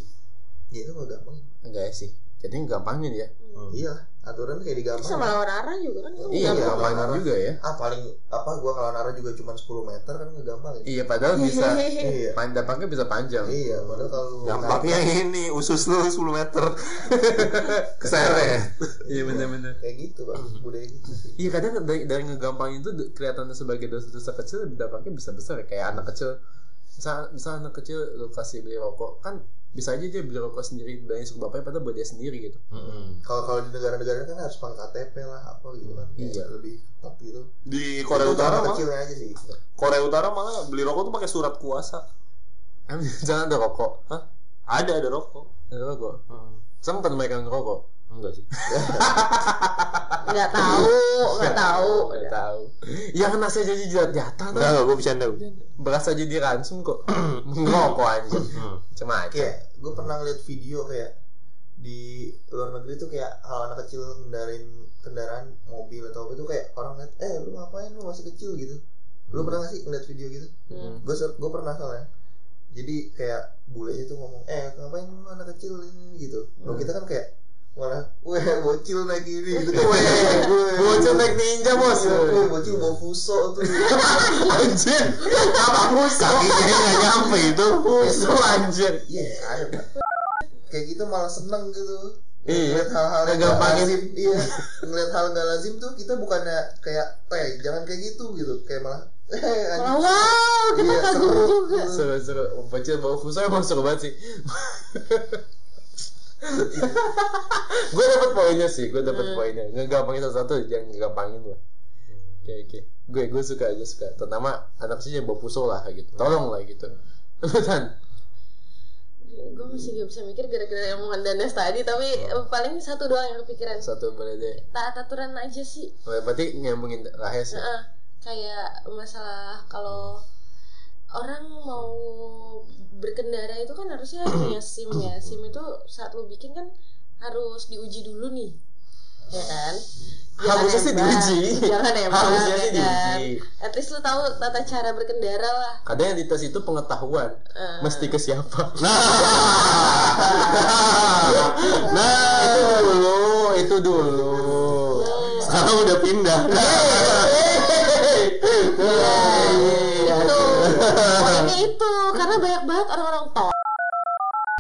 [SPEAKER 6] ya itu nggak gampang
[SPEAKER 3] enggak sih. Jadi gampangin ya.
[SPEAKER 6] iya aturan kayak digampang
[SPEAKER 5] Sama lawan arah juga kan.
[SPEAKER 3] Iya,
[SPEAKER 6] Iya,
[SPEAKER 3] gampangin
[SPEAKER 6] benar.
[SPEAKER 3] juga ya.
[SPEAKER 6] ah paling apa gue ngelawan arah juga cuma 10 meter kan nggak gampang ya
[SPEAKER 3] Iya, padahal bisa
[SPEAKER 6] iya
[SPEAKER 3] Pan- dampaknya bisa panjang.
[SPEAKER 6] iya padahal kalau
[SPEAKER 1] Gampangnya
[SPEAKER 3] Iya,
[SPEAKER 1] ini usus lu 10 meter. ya? Keseret.
[SPEAKER 3] Iya benar-benar.
[SPEAKER 6] kayak gitu bang
[SPEAKER 1] Hmm.
[SPEAKER 6] budaya gitu sih
[SPEAKER 3] Iya kadang dari, dari ngegampangin itu d- kelihatannya sebagai dosa-dosa kecil dampaknya bisa besar ya. kayak anak kecil. Misal, misal anak kecil lu kasih beli rokok kan bisa aja dia beli rokok sendiri bilangnya suruh bapaknya padahal buat dia sendiri gitu.
[SPEAKER 6] kalau kalau di negara-negara kan harus pakai KTP lah apa gitu kan Kayak
[SPEAKER 3] Iya.
[SPEAKER 6] lebih ketat gitu
[SPEAKER 1] Di Korea
[SPEAKER 6] Itu
[SPEAKER 1] Utara
[SPEAKER 6] anak
[SPEAKER 1] mah
[SPEAKER 6] kecilnya aja sih
[SPEAKER 1] Korea Utara malah beli rokok tuh pakai surat kuasa.
[SPEAKER 3] Em, Jangan Kan ada rokok.
[SPEAKER 1] Hah? Ada ada rokok.
[SPEAKER 3] Ada rokok. Sempat mereka ngerokok.
[SPEAKER 1] Hmm, Enggak sih.
[SPEAKER 5] Enggak tahu, enggak tahu.
[SPEAKER 3] Nggak Oh, tahu. Ya kena saya jadi jilat jatah
[SPEAKER 1] Enggak,
[SPEAKER 3] tuh.
[SPEAKER 1] enggak gue bercanda, gua bercanda.
[SPEAKER 3] Beras aja diransum kok. ngerokok aja. Cuma aja.
[SPEAKER 6] kayak gue pernah ngeliat video kayak di luar negeri tuh kayak kalau anak kecil ngendarin kendaraan mobil atau apa itu kayak orang liat eh lu ngapain lu masih kecil gitu lu pernah gak sih ngeliat video gitu gue gue pernah soalnya jadi kayak bule itu ngomong eh ngapain lu anak kecil ini gitu Kalau kita kan kayak malah weh bocil naik ini gitu weh
[SPEAKER 3] Iya,
[SPEAKER 6] gue
[SPEAKER 3] Bocil naik ninja bos.
[SPEAKER 6] weh bocil bawa fuso tuh
[SPEAKER 3] Anjir. Apa musuh? Kakinya enggak nyampe itu. Musuh anjir.
[SPEAKER 6] iya ada Pak. kayak gitu malah seneng gitu
[SPEAKER 3] Iya.
[SPEAKER 6] ngeliat hal-hal yang gak
[SPEAKER 3] Ngegampangin.
[SPEAKER 6] lazim iya ngeliat hal gak lazim tuh kita bukannya kayak eh jangan kayak gitu gitu kayak malah eh
[SPEAKER 5] Malah, wow, kita
[SPEAKER 6] Iya,
[SPEAKER 5] kagum
[SPEAKER 6] seru.
[SPEAKER 5] juga.
[SPEAKER 3] Seru-seru. Bocil bawa futsal emang seru banget sih. gue dapet poinnya sih, gue dapet poinnya. Ngegampangin satu-satu, jangan ngegampangin lah. Oke oke. Gue gue suka gue suka. Terutama anak sih yang bawa futsal lah gitu. Tolong lah gitu. Betul.
[SPEAKER 5] Gue masih gak bisa mikir gara-gara yang omongan Danes tadi tapi eh, paling satu doang yang kepikiran
[SPEAKER 3] Satu boleh deh.
[SPEAKER 5] taat aturan aja sih
[SPEAKER 3] Berarti nyambungin rahes ya.
[SPEAKER 5] Heeh, kayak masalah kalau orang mau berkendara itu kan harusnya punya SIM ya. SIM itu saat lu bikin kan harus diuji dulu nih. Ya kan?
[SPEAKER 8] Harusnya sih
[SPEAKER 5] nebak,
[SPEAKER 8] diuji.
[SPEAKER 5] Jangan emang.
[SPEAKER 8] Harusnya sih
[SPEAKER 5] Iya.
[SPEAKER 8] diuji.
[SPEAKER 5] ya kan? At least lu tahu tata cara berkendara lah.
[SPEAKER 3] Kadang yang dites itu pengetahuan.
[SPEAKER 5] Eh.
[SPEAKER 3] Mesti ke siapa?
[SPEAKER 8] Nah, itu dulu, itu dulu. Sekarang udah pindah.
[SPEAKER 3] Iya,
[SPEAKER 5] itu pokoknya itu karena banyak banget orang-orang tol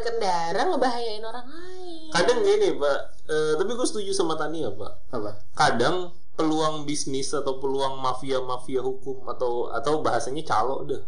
[SPEAKER 5] berkendara ngebahayain orang lain
[SPEAKER 1] kadang gini pak Eh, tapi gue setuju sama Tania pak
[SPEAKER 3] Apa?
[SPEAKER 1] kadang peluang bisnis atau peluang mafia mafia hukum atau atau bahasanya calo deh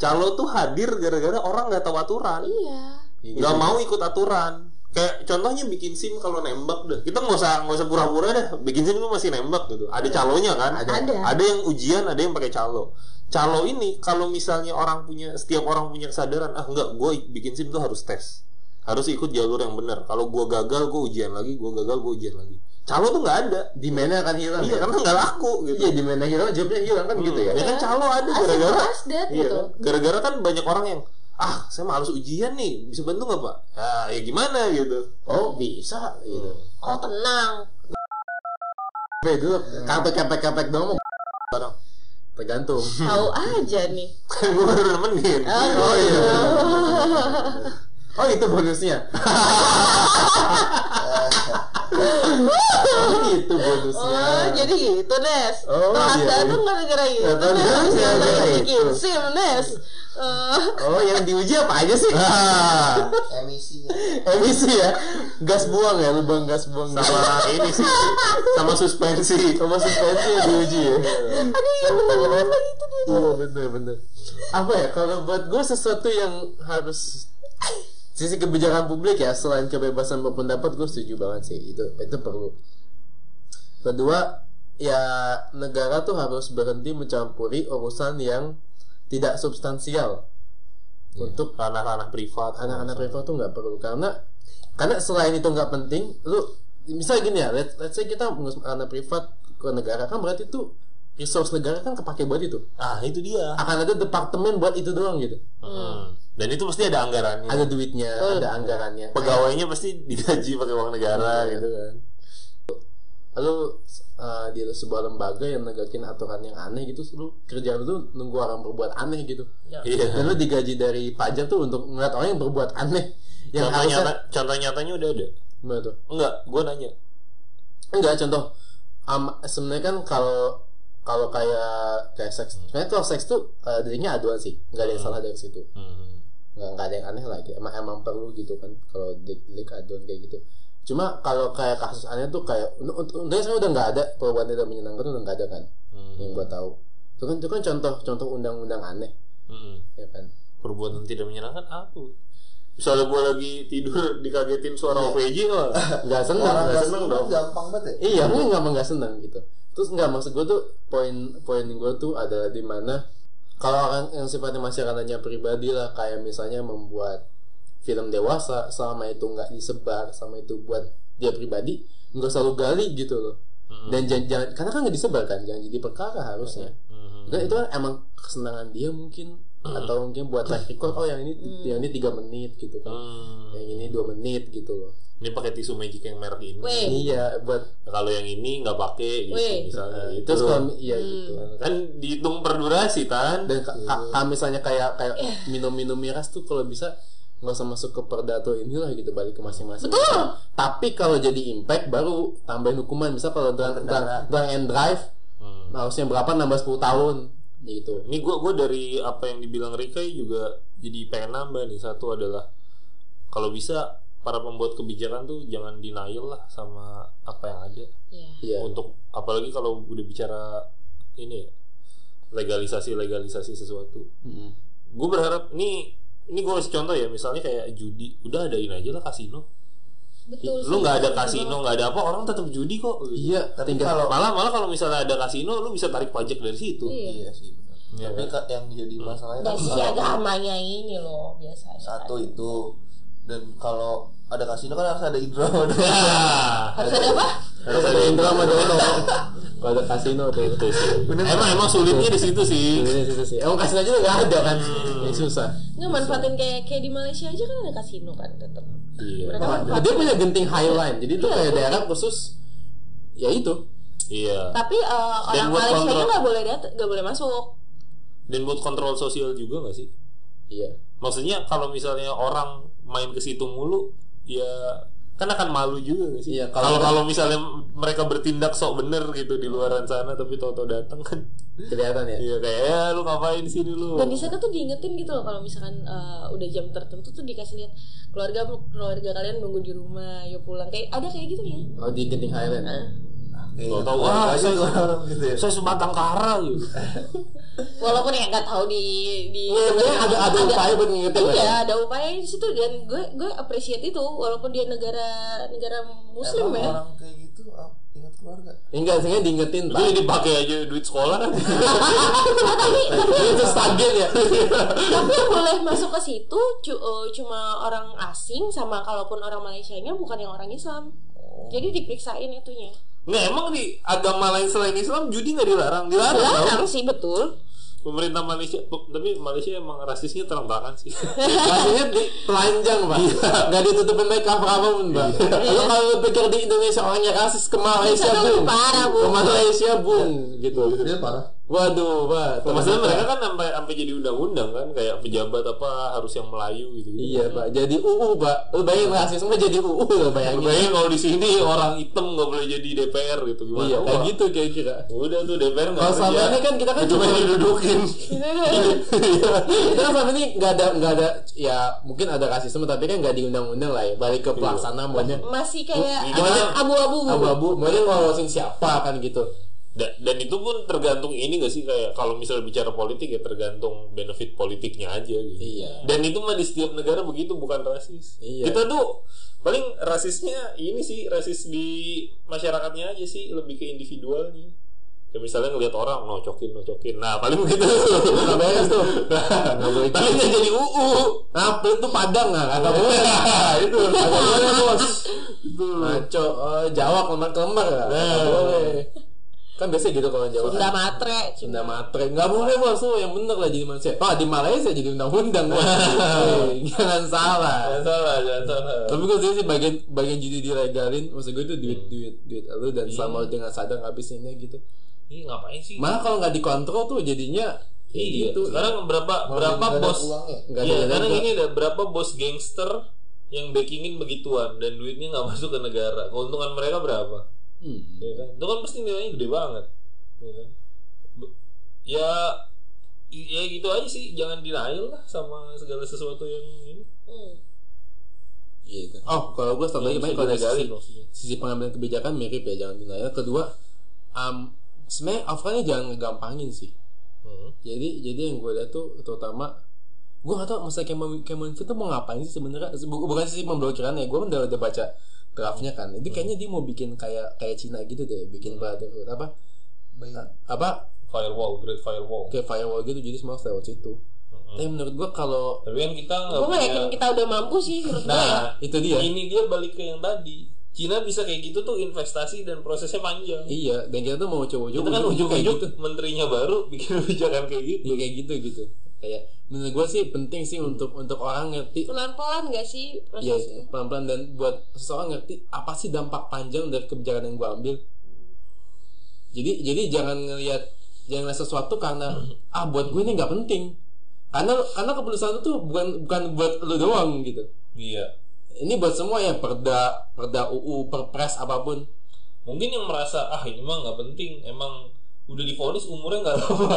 [SPEAKER 1] calo tuh hadir gara-gara orang nggak tahu aturan
[SPEAKER 5] iya
[SPEAKER 3] gitu.
[SPEAKER 1] nggak mau ikut aturan kayak contohnya bikin sim kalau nembak deh kita nggak usah nggak usah pura-pura deh bikin sim lu masih nembak gitu ada calonya kan ada
[SPEAKER 5] Ada.
[SPEAKER 1] yang ujian ada yang pakai calo calo ini kalau misalnya orang punya setiap orang punya kesadaran ah nggak gue bikin sim tuh harus tes harus ikut jalur yang benar kalau gue gagal gue ujian lagi gue gagal gue ujian lagi calo tuh nggak ada
[SPEAKER 3] Di mana akan hilang?
[SPEAKER 1] iya
[SPEAKER 3] ya?
[SPEAKER 1] karena nggak laku gitu
[SPEAKER 3] Iya, di mana hilang jawabnya hilang kan gitu ya.
[SPEAKER 1] ya kan calo ada gara-gara
[SPEAKER 5] Asik, asdet
[SPEAKER 1] Iya
[SPEAKER 5] gitu
[SPEAKER 1] kan? Gara-gara kan banyak orang yang ah saya malas ujian nih bisa bantu nggak pak? Ah, ya gimana gitu.
[SPEAKER 3] Oh, bisa gitu.
[SPEAKER 5] oh tenang
[SPEAKER 3] Be dulu kapek-kapek-kapek dong. Eh. Barang. Tergantung.
[SPEAKER 5] tahu aja nih
[SPEAKER 1] Kan gue baru nemenin.
[SPEAKER 5] oh,
[SPEAKER 3] iya. Oh, itu
[SPEAKER 1] iya.
[SPEAKER 3] bonusnya. Oh, gitu bonusnya.
[SPEAKER 1] Oh,
[SPEAKER 5] jadi gitu Nes
[SPEAKER 3] Oh,
[SPEAKER 5] perasaan
[SPEAKER 3] iya.
[SPEAKER 5] tuh gara-gara gitu
[SPEAKER 3] Nggak tahu
[SPEAKER 5] Nes
[SPEAKER 3] gara-gara
[SPEAKER 5] gara-gara
[SPEAKER 3] itu.
[SPEAKER 5] bikin sim Nes Eh,
[SPEAKER 3] Oh, yang diuji apa aja sih? Oh,
[SPEAKER 6] emisinya
[SPEAKER 3] Emisi ya. Gas buang ya, lubang gas buang.
[SPEAKER 1] Sama ini sih, sama suspensi.
[SPEAKER 3] Sama suspensi yang diuji ya.
[SPEAKER 5] aduh ya bener-bener lagi itu dia
[SPEAKER 3] Iya, bener bener. Apa ya? Kalau buat gue sesuatu yang harus sisi kebijakan publik ya selain kebebasan berpendapat gue setuju banget sih itu itu perlu kedua ya negara tuh harus berhenti mencampuri urusan yang tidak substansial untuk
[SPEAKER 1] Untuk ranah-ranah privat.
[SPEAKER 3] anak-anak privat tuh nggak perlu karena karena selain itu nggak penting lu misalnya gini ya let's, let's say kita ngurus anak privat ke negara kan berarti tuh resource negara kan kepake buat itu
[SPEAKER 1] Ah itu dia.
[SPEAKER 3] akan ada departemen buat itu doang gitu
[SPEAKER 1] Hmm. Dan itu pasti ada anggarannya.
[SPEAKER 3] ada duitnya ada anggarannya
[SPEAKER 1] Pegawainya pasti digaji pakai uang negara gitu.
[SPEAKER 3] gitu kan lu uh, di sebuah lembaga yang negakin aturan yang aneh gitu lu kerjaan lu tuh nunggu orang berbuat aneh gitu dan
[SPEAKER 1] Iya.
[SPEAKER 3] lu digaji dari pajak tuh untuk ngeliat orang yang berbuat aneh yang
[SPEAKER 1] Contoh,
[SPEAKER 3] harusnya-
[SPEAKER 1] nyata, contoh nyatanya udah ada.
[SPEAKER 3] Gimana tuh?
[SPEAKER 1] Enggak, gue nanya.
[SPEAKER 3] enggak contoh am- sebenarnya kan kalau kalau kayak kayak seks sebenarnya kalau seks tuh eh, dirinya aduan sih nggak ada yang salah dari situ nggak nggak ada yang aneh lagi emang emang perlu gitu kan kalau delik aduan kayak gitu cuma kalau kayak kasus aneh tuh kayak untuk untuk untungnya sebenarnya udah nggak ada perubahan tidak menyenangkan tuh udah nggak ada kan
[SPEAKER 1] Hmm.
[SPEAKER 3] yang gua tahu itu kan itu kan contoh contoh undang-undang aneh
[SPEAKER 1] Hmm.
[SPEAKER 3] ya kan
[SPEAKER 1] Perbuatan tidak menyenangkan aku. Misalnya gue lagi tidur dikagetin suara
[SPEAKER 3] Iya.
[SPEAKER 1] OVJ, wah.
[SPEAKER 3] nggak seneng
[SPEAKER 6] orang
[SPEAKER 3] nggak
[SPEAKER 6] nggak
[SPEAKER 3] seneng
[SPEAKER 6] seneng
[SPEAKER 3] dong
[SPEAKER 6] gampang banget ya
[SPEAKER 3] Iya, gue nggak nggak seneng gitu. Terus nggak maksud gue tuh poin poin gue tuh adalah di mana kalau orang yang sifatnya masyarakatnya pribadi lah kayak misalnya membuat film dewasa selama itu nggak disebar sama itu buat dia pribadi nggak selalu gali gitu loh dan jangan, jangan karena kan nggak disebar kan jangan jadi perkara harusnya
[SPEAKER 1] Hmm.
[SPEAKER 3] Kan itu kan emang kesenangan dia mungkin atau mungkin buat track record oh yang ini yang ini tiga menit gitu kan
[SPEAKER 1] Hmm.
[SPEAKER 3] yang ini dua menit gitu loh
[SPEAKER 1] Ini pakai tisu magic yang merek ini.
[SPEAKER 5] weh
[SPEAKER 3] iya buat
[SPEAKER 1] Kalau yang ini nggak pakai gitu
[SPEAKER 5] Weh.
[SPEAKER 1] misalnya. Itu
[SPEAKER 3] terus kalau iya gitu
[SPEAKER 1] kan dihitung per durasi kan.
[SPEAKER 3] dan ka- ka- ka- misalnya kayak kayak minum-minum miras tuh kalau bisa nggak usah masuk ke perdato inilah gitu balik ke masing-masing. Tapi kalau jadi impact baru tambahin hukuman bisa kalau drunk, drunk, drunk and drive
[SPEAKER 1] Hmm.
[SPEAKER 3] harusnya berapa nambah 10 tahun gitu.
[SPEAKER 1] Ini gue gua dari apa yang dibilang Rika juga jadi pengen nambah nih satu adalah kalau bisa para pembuat kebijakan tuh jangan denial lah sama apa yang ada.
[SPEAKER 5] Iya.
[SPEAKER 3] Iya.
[SPEAKER 1] Untuk apalagi kalau udah bicara ini ya, legalisasi legalisasi sesuatu.
[SPEAKER 3] Mm.
[SPEAKER 1] Gue berharap ini ini gue kasih contoh ya misalnya kayak judi udah adain aja lah kasino
[SPEAKER 5] betul
[SPEAKER 1] lu nggak ada kasino nggak ada apa orang tetap judi kok
[SPEAKER 3] Iya,
[SPEAKER 6] tapi
[SPEAKER 3] tinggal-
[SPEAKER 6] kalau
[SPEAKER 1] malah malah kalau misalnya ada kasino lu bisa tarik pajak dari situ
[SPEAKER 5] iya
[SPEAKER 6] iya sih benar
[SPEAKER 1] Iya,
[SPEAKER 6] tapi
[SPEAKER 1] kan?
[SPEAKER 6] ka- yang jadi masalahnya
[SPEAKER 5] dari
[SPEAKER 6] kan
[SPEAKER 5] sisi
[SPEAKER 6] kalau
[SPEAKER 5] agamanya ini loh biasanya
[SPEAKER 6] satu itu dan kalau ada kasino kan harus ada intro
[SPEAKER 1] Ya kan?
[SPEAKER 5] Harus ada apa?
[SPEAKER 3] Harus ada Indra sama Dono. Kalau ada kasino tuh. Itu sih. Emang emang sulitnya di situ sih. Sulitnya di situ sih. Emang kasino juga nggak ada kan? Yang susah.
[SPEAKER 5] Nggak manfaatin kayak kayak di Malaysia aja kan ada kasino kan tetap.
[SPEAKER 3] Iya.
[SPEAKER 5] Mereka manfaatin.
[SPEAKER 3] Dia punya genting highline. Jadi itu kayak daerah khusus. Ya itu.
[SPEAKER 1] Iya.
[SPEAKER 5] Tapi eh, orang
[SPEAKER 1] buat
[SPEAKER 5] Malaysia nya
[SPEAKER 1] kontrol.
[SPEAKER 5] nggak boleh dat- nggak boleh masuk.
[SPEAKER 1] Dan buat kontrol sosial juga nggak sih?
[SPEAKER 3] Iya.
[SPEAKER 1] Maksudnya kalau misalnya orang main ke situ mulu, ya kan akan malu juga nggak sih?
[SPEAKER 3] Iya, kalau-
[SPEAKER 1] kalau kalau misalnya mereka bertindak sok bener gitu di luaran sana tapi tau-tau datang kan.
[SPEAKER 3] Kelihatan ya.
[SPEAKER 1] Iya kayak "Eh, lu ngapain di sini lu?
[SPEAKER 5] Dan di sana tuh diingetin gitu loh kalau misalkan eh, udah jam tertentu tuh dikasih lihat keluarga keluarga kalian nunggu di rumah, yuk pulang. Kayak ada kayak gitu ya.
[SPEAKER 3] Oh di genting highline.
[SPEAKER 1] Tau tahu wah saya,
[SPEAKER 6] gitu ya
[SPEAKER 1] saya sebatang kara gitu.
[SPEAKER 5] Walaupun ya nggak tahu di di
[SPEAKER 3] Iya, sebenarnya ada- ada upaya buat ngingetin lah
[SPEAKER 5] Iya,
[SPEAKER 3] ya.
[SPEAKER 5] ada upaya di situ dan gue gue appreciate itu walaupun dia negara negara muslim
[SPEAKER 6] Emang
[SPEAKER 5] ya.
[SPEAKER 6] orang kayak gitu ah, ingat keluarga
[SPEAKER 3] Enggak, sehingga diingetin.
[SPEAKER 1] Itu dipakai aja duit sekolah kan.
[SPEAKER 5] Nah, tapi tapi
[SPEAKER 3] Itu stabil ya.
[SPEAKER 5] tapi yang boleh masuk ke situ cu- eh, cuma orang asing sama kalaupun orang Malaysianya bukan yang orang Islam. Jadi diperiksain itunya.
[SPEAKER 1] Nggak emang di agama lain selain Islam judi nggak dilarang? Dilarang. tau.
[SPEAKER 5] Dilarang sih betul.
[SPEAKER 1] Pemerintah Malaysia, tapi Malaysia emang rasisnya terang-terangan sih.
[SPEAKER 3] Rasanya di telanjang, Pak. Nggak ditutupin make up apa pun, Pak. Lu kalau lu pikir di Indonesia orangnya rasis ke Malaysia,
[SPEAKER 5] Di sana
[SPEAKER 3] Bung.
[SPEAKER 5] lebih parah, Bung.
[SPEAKER 3] Ke Malaysia, Bung. Gitu.
[SPEAKER 6] dia parah
[SPEAKER 3] Waduh, Pak.
[SPEAKER 1] Maksudnya
[SPEAKER 3] ternyata-
[SPEAKER 1] mereka kan sampai sampai jadi undang-undang kan kayak pejabat apa harus yang Melayu gitu.
[SPEAKER 3] Iya, Pak. Jadi UU, Pak. Lu bayangin rasisme jadi UU, lo bayangin.
[SPEAKER 1] Bayangin kalau di sini orang hitam nggak boleh jadi DPR gitu gimana?
[SPEAKER 3] Iya, kayak
[SPEAKER 1] Wah,
[SPEAKER 3] gitu kira-kira.
[SPEAKER 1] Udah tuh DPR nggak
[SPEAKER 3] Kalau selama
[SPEAKER 1] kerja.
[SPEAKER 3] ini kan kita kan
[SPEAKER 1] cuma
[SPEAKER 3] cuma
[SPEAKER 1] didudukin.
[SPEAKER 3] kita kan selama ini nggak ada nggak ada ya mungkin ada rasisme tapi kan nggak di undang-undang lah ya balik ke pelaksana maunya
[SPEAKER 5] Masih kayak
[SPEAKER 3] Gimana?
[SPEAKER 5] abu-abu.
[SPEAKER 3] abu-abu maunya ngolosin siapa kan gitu
[SPEAKER 1] Da- Dan itu pun tergantung ini gak sih kayak kalau misalnya bicara politik ya tergantung benefit politiknya aja gitu.
[SPEAKER 3] Iya.
[SPEAKER 1] Dan itu mah di setiap negara begitu bukan rasis.
[SPEAKER 3] Iya.
[SPEAKER 1] Kita tuh paling rasisnya ini sih rasis di masyarakatnya aja sih lebih ke individualnya. Ya misalnya ngelihat orang nocokin nocokin. Nah, paling begitu.
[SPEAKER 3] nggak beres tuh nggak boleh
[SPEAKER 1] Tapi dia jadi UU.
[SPEAKER 3] Nah, pelit tuh Padang nggak kata boleh.
[SPEAKER 1] itu
[SPEAKER 3] Kagak boleh bos. Maco, eh, Jawa kelemar kelemar nggak Kagak boleh. Kan biasa gitu kalau Jawa.
[SPEAKER 5] Sunda matre.
[SPEAKER 3] Sunda matre nggak boleh bos tuh yang bener lah jadi manusia. Wah di Malaysia jadi undang-undang. Bos. Hei, Jangan salah.
[SPEAKER 1] salah, jangan salah.
[SPEAKER 3] Tapi gue sih bagian bagian judi dilegalin, maksud gue itu duit duit duit lu dan selama lu dengan sadar ngabisinnya gitu.
[SPEAKER 1] Ini ngapain sih?
[SPEAKER 3] Malah kalau nggak dikontrol tuh jadinya ya
[SPEAKER 1] Iya.
[SPEAKER 3] gitu.
[SPEAKER 1] Sekarang berapa berapa
[SPEAKER 6] Nggak ada
[SPEAKER 1] bos?
[SPEAKER 6] uangnya.
[SPEAKER 3] Nggak ada
[SPEAKER 1] Iya,
[SPEAKER 3] nggak
[SPEAKER 1] sekarang
[SPEAKER 3] ada.
[SPEAKER 1] ini ada berapa bos gangster yang backingin begituan dan duitnya nggak masuk ke negara. Keuntungan mereka berapa?
[SPEAKER 3] Hmm.
[SPEAKER 1] Ya kan? Itu kan pasti nilainya gede banget. Ya kan? Be- Ya ya gitu aja sih, jangan denial lah sama segala sesuatu yang ini.
[SPEAKER 5] Hmm.
[SPEAKER 3] Gitu. Oh, kalau gue standar
[SPEAKER 1] Yang
[SPEAKER 3] baik
[SPEAKER 1] Iya, bisa
[SPEAKER 3] kalau dari
[SPEAKER 1] dilegalin
[SPEAKER 3] sisi,
[SPEAKER 1] maksudnya.
[SPEAKER 3] sisi pengambilan kebijakan mirip ya jangan denial. Kedua, um, sebenarnya offline jangan ngegampangin sih.
[SPEAKER 1] Hmm.
[SPEAKER 3] Jadi jadi yang gue lihat tuh terutama gue gak tau masa Cameron, Cameron Finn tuh mau ngapain sih sebenarnya Bu- bukan sih pemblokirannya gue udah udah baca draftnya kan itu kayaknya dia mau bikin kayak kayak Cina gitu deh bikin brotherhood apa
[SPEAKER 6] Bayang.
[SPEAKER 3] apa
[SPEAKER 1] Firewall, great firewall.
[SPEAKER 3] kayak firewall gitu jadi semua harus lewat situ
[SPEAKER 1] Mm-mm.
[SPEAKER 3] tapi menurut gue kalau
[SPEAKER 1] Tapi kan kita nggak
[SPEAKER 5] Gue nggak
[SPEAKER 1] punya.
[SPEAKER 5] yakin kita udah mampu sih menurut gue ya.
[SPEAKER 1] Nah,
[SPEAKER 3] itu dia
[SPEAKER 1] ini dia balik ke yang tadi. Cina bisa kayak gitu tuh investasi dan prosesnya panjang.
[SPEAKER 3] iya dan kita tuh mau coba-coba
[SPEAKER 1] Kita kan
[SPEAKER 3] kayak
[SPEAKER 1] ujung-ujung
[SPEAKER 3] gitu
[SPEAKER 1] menterinya baru bikin kebijakan kayak gitu.
[SPEAKER 3] Iya, kayak gitu gitu kayak menurut gue sih penting sih untuk untuk orang ngerti
[SPEAKER 5] Pelan-pelan gak sih
[SPEAKER 3] Iya,
[SPEAKER 5] prosesnya?
[SPEAKER 3] pelan-pelan dan buat seseorang ngerti apa sih dampak panjang dari kebijakan yang gue ambil. Jadi jadi jangan ngelihat jangan ngeliat sesuatu karena ah buat gue ini nggak penting. Karena karena keputusan itu bukan bukan buat lu doang gitu.
[SPEAKER 1] Iya.
[SPEAKER 3] Ini buat semua ya perda perda UU perpres apapun.
[SPEAKER 1] Mungkin yang merasa ah ini mah nggak penting, emang udah difonis umurnya nggak lama.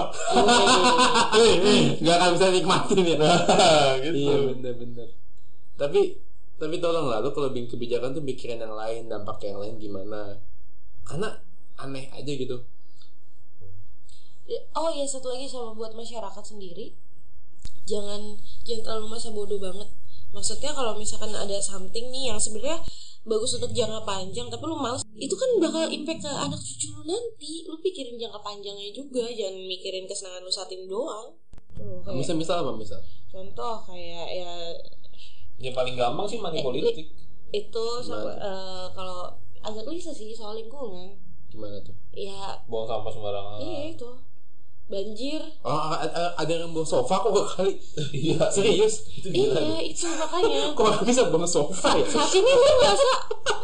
[SPEAKER 3] Iya. nggak akan bisa nikmatin ya.
[SPEAKER 1] gitu.
[SPEAKER 3] iya bener-bener. Tapi tapi tolong lah lu kalau bikin kebijakan tuh mikirin yang lain dampak yang lain gimana. Karena aneh aja gitu.
[SPEAKER 5] Oh iya satu lagi sama buat masyarakat sendiri jangan jangan terlalu masa bodoh banget. Maksudnya kalau misalkan ada something nih yang sebenarnya bagus untuk jangka panjang tapi lu males itu kan bakal impact ke anak cucu lu nanti lu pikirin jangka panjangnya juga jangan mikirin Iya. kesenangan lu saat ini doang Tuh, kayak-
[SPEAKER 3] Misal misal apa misal?
[SPEAKER 5] contoh kayak ya
[SPEAKER 1] yang paling gampang sih money
[SPEAKER 5] Eh,
[SPEAKER 1] politik
[SPEAKER 5] itu so-
[SPEAKER 1] Gimana?
[SPEAKER 5] eh, kalau agak klise sih soal lingkungan
[SPEAKER 3] Gimana tuh?
[SPEAKER 5] ya
[SPEAKER 1] buang sampah sembarangan
[SPEAKER 5] iya itu banjir
[SPEAKER 3] Oh, a- a- ada yang bawa sofa kok gak kali? Iya, serius? Itu
[SPEAKER 5] iya itu makanya
[SPEAKER 3] Kok gak bisa bawa sofa ya?
[SPEAKER 5] saat ini gue ngerasa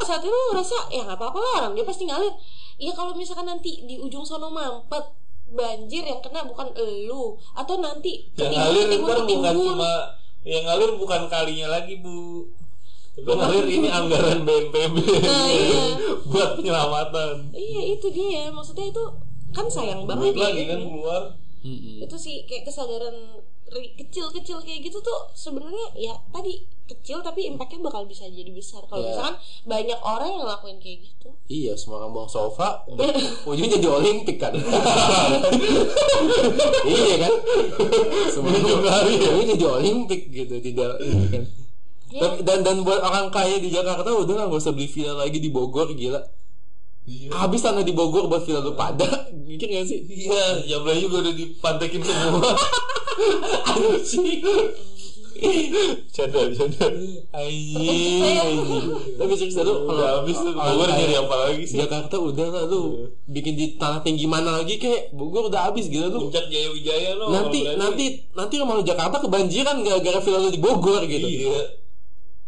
[SPEAKER 5] saat ini gue ngerasa ya nggak apa-apa lah orang dia pasti ngalir ya kalau misalkan nanti di ujung sono mampet banjir yang kena bukan elu atau nanti
[SPEAKER 1] yang
[SPEAKER 5] iya,
[SPEAKER 1] ngalir ntar bukan cuma yang ngalir bukan kalinya lagi bu yang ngalir ini anggaran BNPB
[SPEAKER 5] Nah, iya.
[SPEAKER 1] buat penyelamatan
[SPEAKER 5] iya itu dia maksudnya itu kan sayang banget
[SPEAKER 1] duit
[SPEAKER 5] ya
[SPEAKER 1] lagi kan
[SPEAKER 5] gitu.
[SPEAKER 1] keluar
[SPEAKER 5] itu sih kayak kesadaran ri- kecil-kecil kayak gitu tuh sebenarnya ya tadi kecil tapi impactnya bakal bisa jadi besar kalau
[SPEAKER 3] Iya.
[SPEAKER 5] misalkan banyak orang yang ngelakuin kayak gitu
[SPEAKER 3] Iya, semua orang bawa sofa, ujungnya jadi olimpik kan? iya kan? Semua ujungnya jadi olimpik gitu, tidak ini kan?
[SPEAKER 5] Iya.
[SPEAKER 3] Dan, dan dan buat orang kaya di Jakarta udah lah, nggak usah beli villa lagi di Bogor gila. Habis tanah di Bogor buat villa lu pada, mikir nggak sih?
[SPEAKER 1] iya jam lagi gue udah dipantekin semua
[SPEAKER 3] Anjing.
[SPEAKER 5] Iya.
[SPEAKER 1] canda canda
[SPEAKER 3] Anjing. anjing. Tapi serius lu kalau
[SPEAKER 1] udah habis tuh
[SPEAKER 3] orang
[SPEAKER 1] keluar
[SPEAKER 3] kaya-
[SPEAKER 1] nyari apa lagi sih Iya.
[SPEAKER 3] Jakarta udah lah lu bikin di tanah tinggi mana lagi kek Bogor udah habis gila lu
[SPEAKER 1] puncak Jaya Wijaya lo
[SPEAKER 3] nanti
[SPEAKER 1] kalau berani.
[SPEAKER 3] nanti nanti rumah lu Jakarta kebanjiran gara-gara villa lu di Bogor gitu
[SPEAKER 1] iya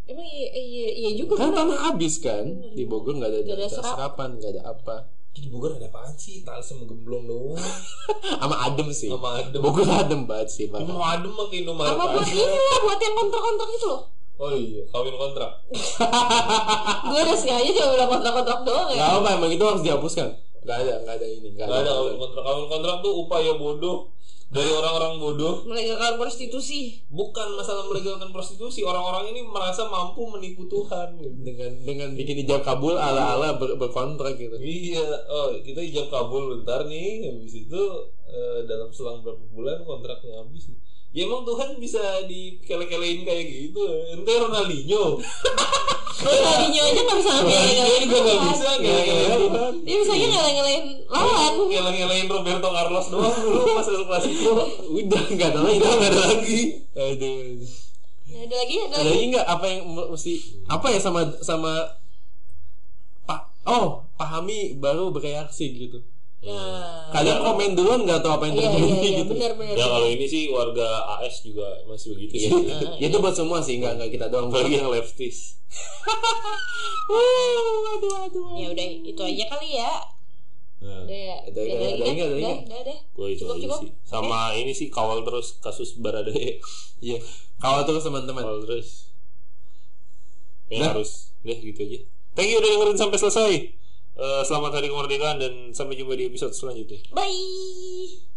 [SPEAKER 5] emang iya iya, iya juga
[SPEAKER 3] kan tanah habis kan di Bogor nggak ada
[SPEAKER 5] Nggak ada
[SPEAKER 3] data
[SPEAKER 5] serap.
[SPEAKER 3] serapan nggak ada apa
[SPEAKER 1] di Bogor ada apaan sih tali sama gemblong doang
[SPEAKER 3] sama adem sih
[SPEAKER 1] sama adem
[SPEAKER 3] Bogor adem banget sih Pak.
[SPEAKER 1] cuma adem mah kayak Indomaret
[SPEAKER 5] apa buat ini
[SPEAKER 1] aja
[SPEAKER 5] lah buat yang kontrak-kontrak itu loh
[SPEAKER 1] oh iya kawin kontrak
[SPEAKER 5] gue udah sengaja cuma bilang kontrak-kontrak doang ya
[SPEAKER 3] nggak apa emang itu harus dihapuskan nggak ada nggak ada ini nggak
[SPEAKER 1] Gak ada
[SPEAKER 3] ada,
[SPEAKER 1] kawin kontrak. Kawin kontrak tuh upaya bodoh dari orang-orang bodoh.
[SPEAKER 5] melegalkan prostitusi
[SPEAKER 1] Bukan masalah melegalkan prostitusi. Orang-orang ini merasa mampu menipu Tuhan. gitu.
[SPEAKER 3] dengan dengan bikin ijab kabul ala-ala ber- berkontrak gitu
[SPEAKER 1] Iya, oh kita ijab kabul bentar nih. Habis itu eh, dalam selang berapa bulan kontraknya habis. Ya emang Tuhan bisa dikele-kelein kayak gitu. Ente Ronaldinho.
[SPEAKER 5] Ronaldinho aja nggak bisa
[SPEAKER 1] Ronaldinho
[SPEAKER 5] ngelain
[SPEAKER 1] juga gak bisa
[SPEAKER 3] kan, Iya, gitu.
[SPEAKER 1] ngele-ngelein Tuhan.
[SPEAKER 5] Iya, dia bisa aja ngelain lawan
[SPEAKER 1] Ngele-ngelein Roberto Carlos doang dulu pas El Clasico.
[SPEAKER 3] udah nggak ada lagi nggak ada lagi aduh
[SPEAKER 5] Nah, ada lagi ada
[SPEAKER 3] ada
[SPEAKER 5] lagi
[SPEAKER 3] lagi nggak apa yang m- mesti apa ya sama sama pak oh pahami baru bereaksi gitu
[SPEAKER 5] nah
[SPEAKER 3] kadang komen duluan nggak tahu apa yang
[SPEAKER 5] iya
[SPEAKER 3] terjadi
[SPEAKER 5] iya iya
[SPEAKER 3] gitu
[SPEAKER 5] benar-benar
[SPEAKER 1] Ya kalau ini sih warga AS juga masih begitu sih.
[SPEAKER 5] Iya.
[SPEAKER 3] Ya, itu buat semua sih nggak nggak kita doang
[SPEAKER 1] Apalagi yang leftis.
[SPEAKER 3] Wuh, aduh aduh
[SPEAKER 5] ya udah itu aja kali ya
[SPEAKER 1] Nah,
[SPEAKER 5] udah ya
[SPEAKER 3] Ada- ada- ada
[SPEAKER 5] lagi
[SPEAKER 3] ingat, ada
[SPEAKER 5] kan?
[SPEAKER 3] ingat.
[SPEAKER 5] udah udah
[SPEAKER 1] gue itu
[SPEAKER 5] Cukup,
[SPEAKER 1] aja
[SPEAKER 5] cukup. Eh.
[SPEAKER 1] sih. Sama ini sih kawal terus kasus Ya, Baradae.
[SPEAKER 3] Iya, kawal terus teman-teman.
[SPEAKER 1] Kawal terus. Ya
[SPEAKER 3] Dah.
[SPEAKER 1] harus. Deh gitu aja. Thank you udah dengerin sampai selesai. Eh, selamat hari kemerdekaan dan sampai jumpa di episode selanjutnya.
[SPEAKER 5] bye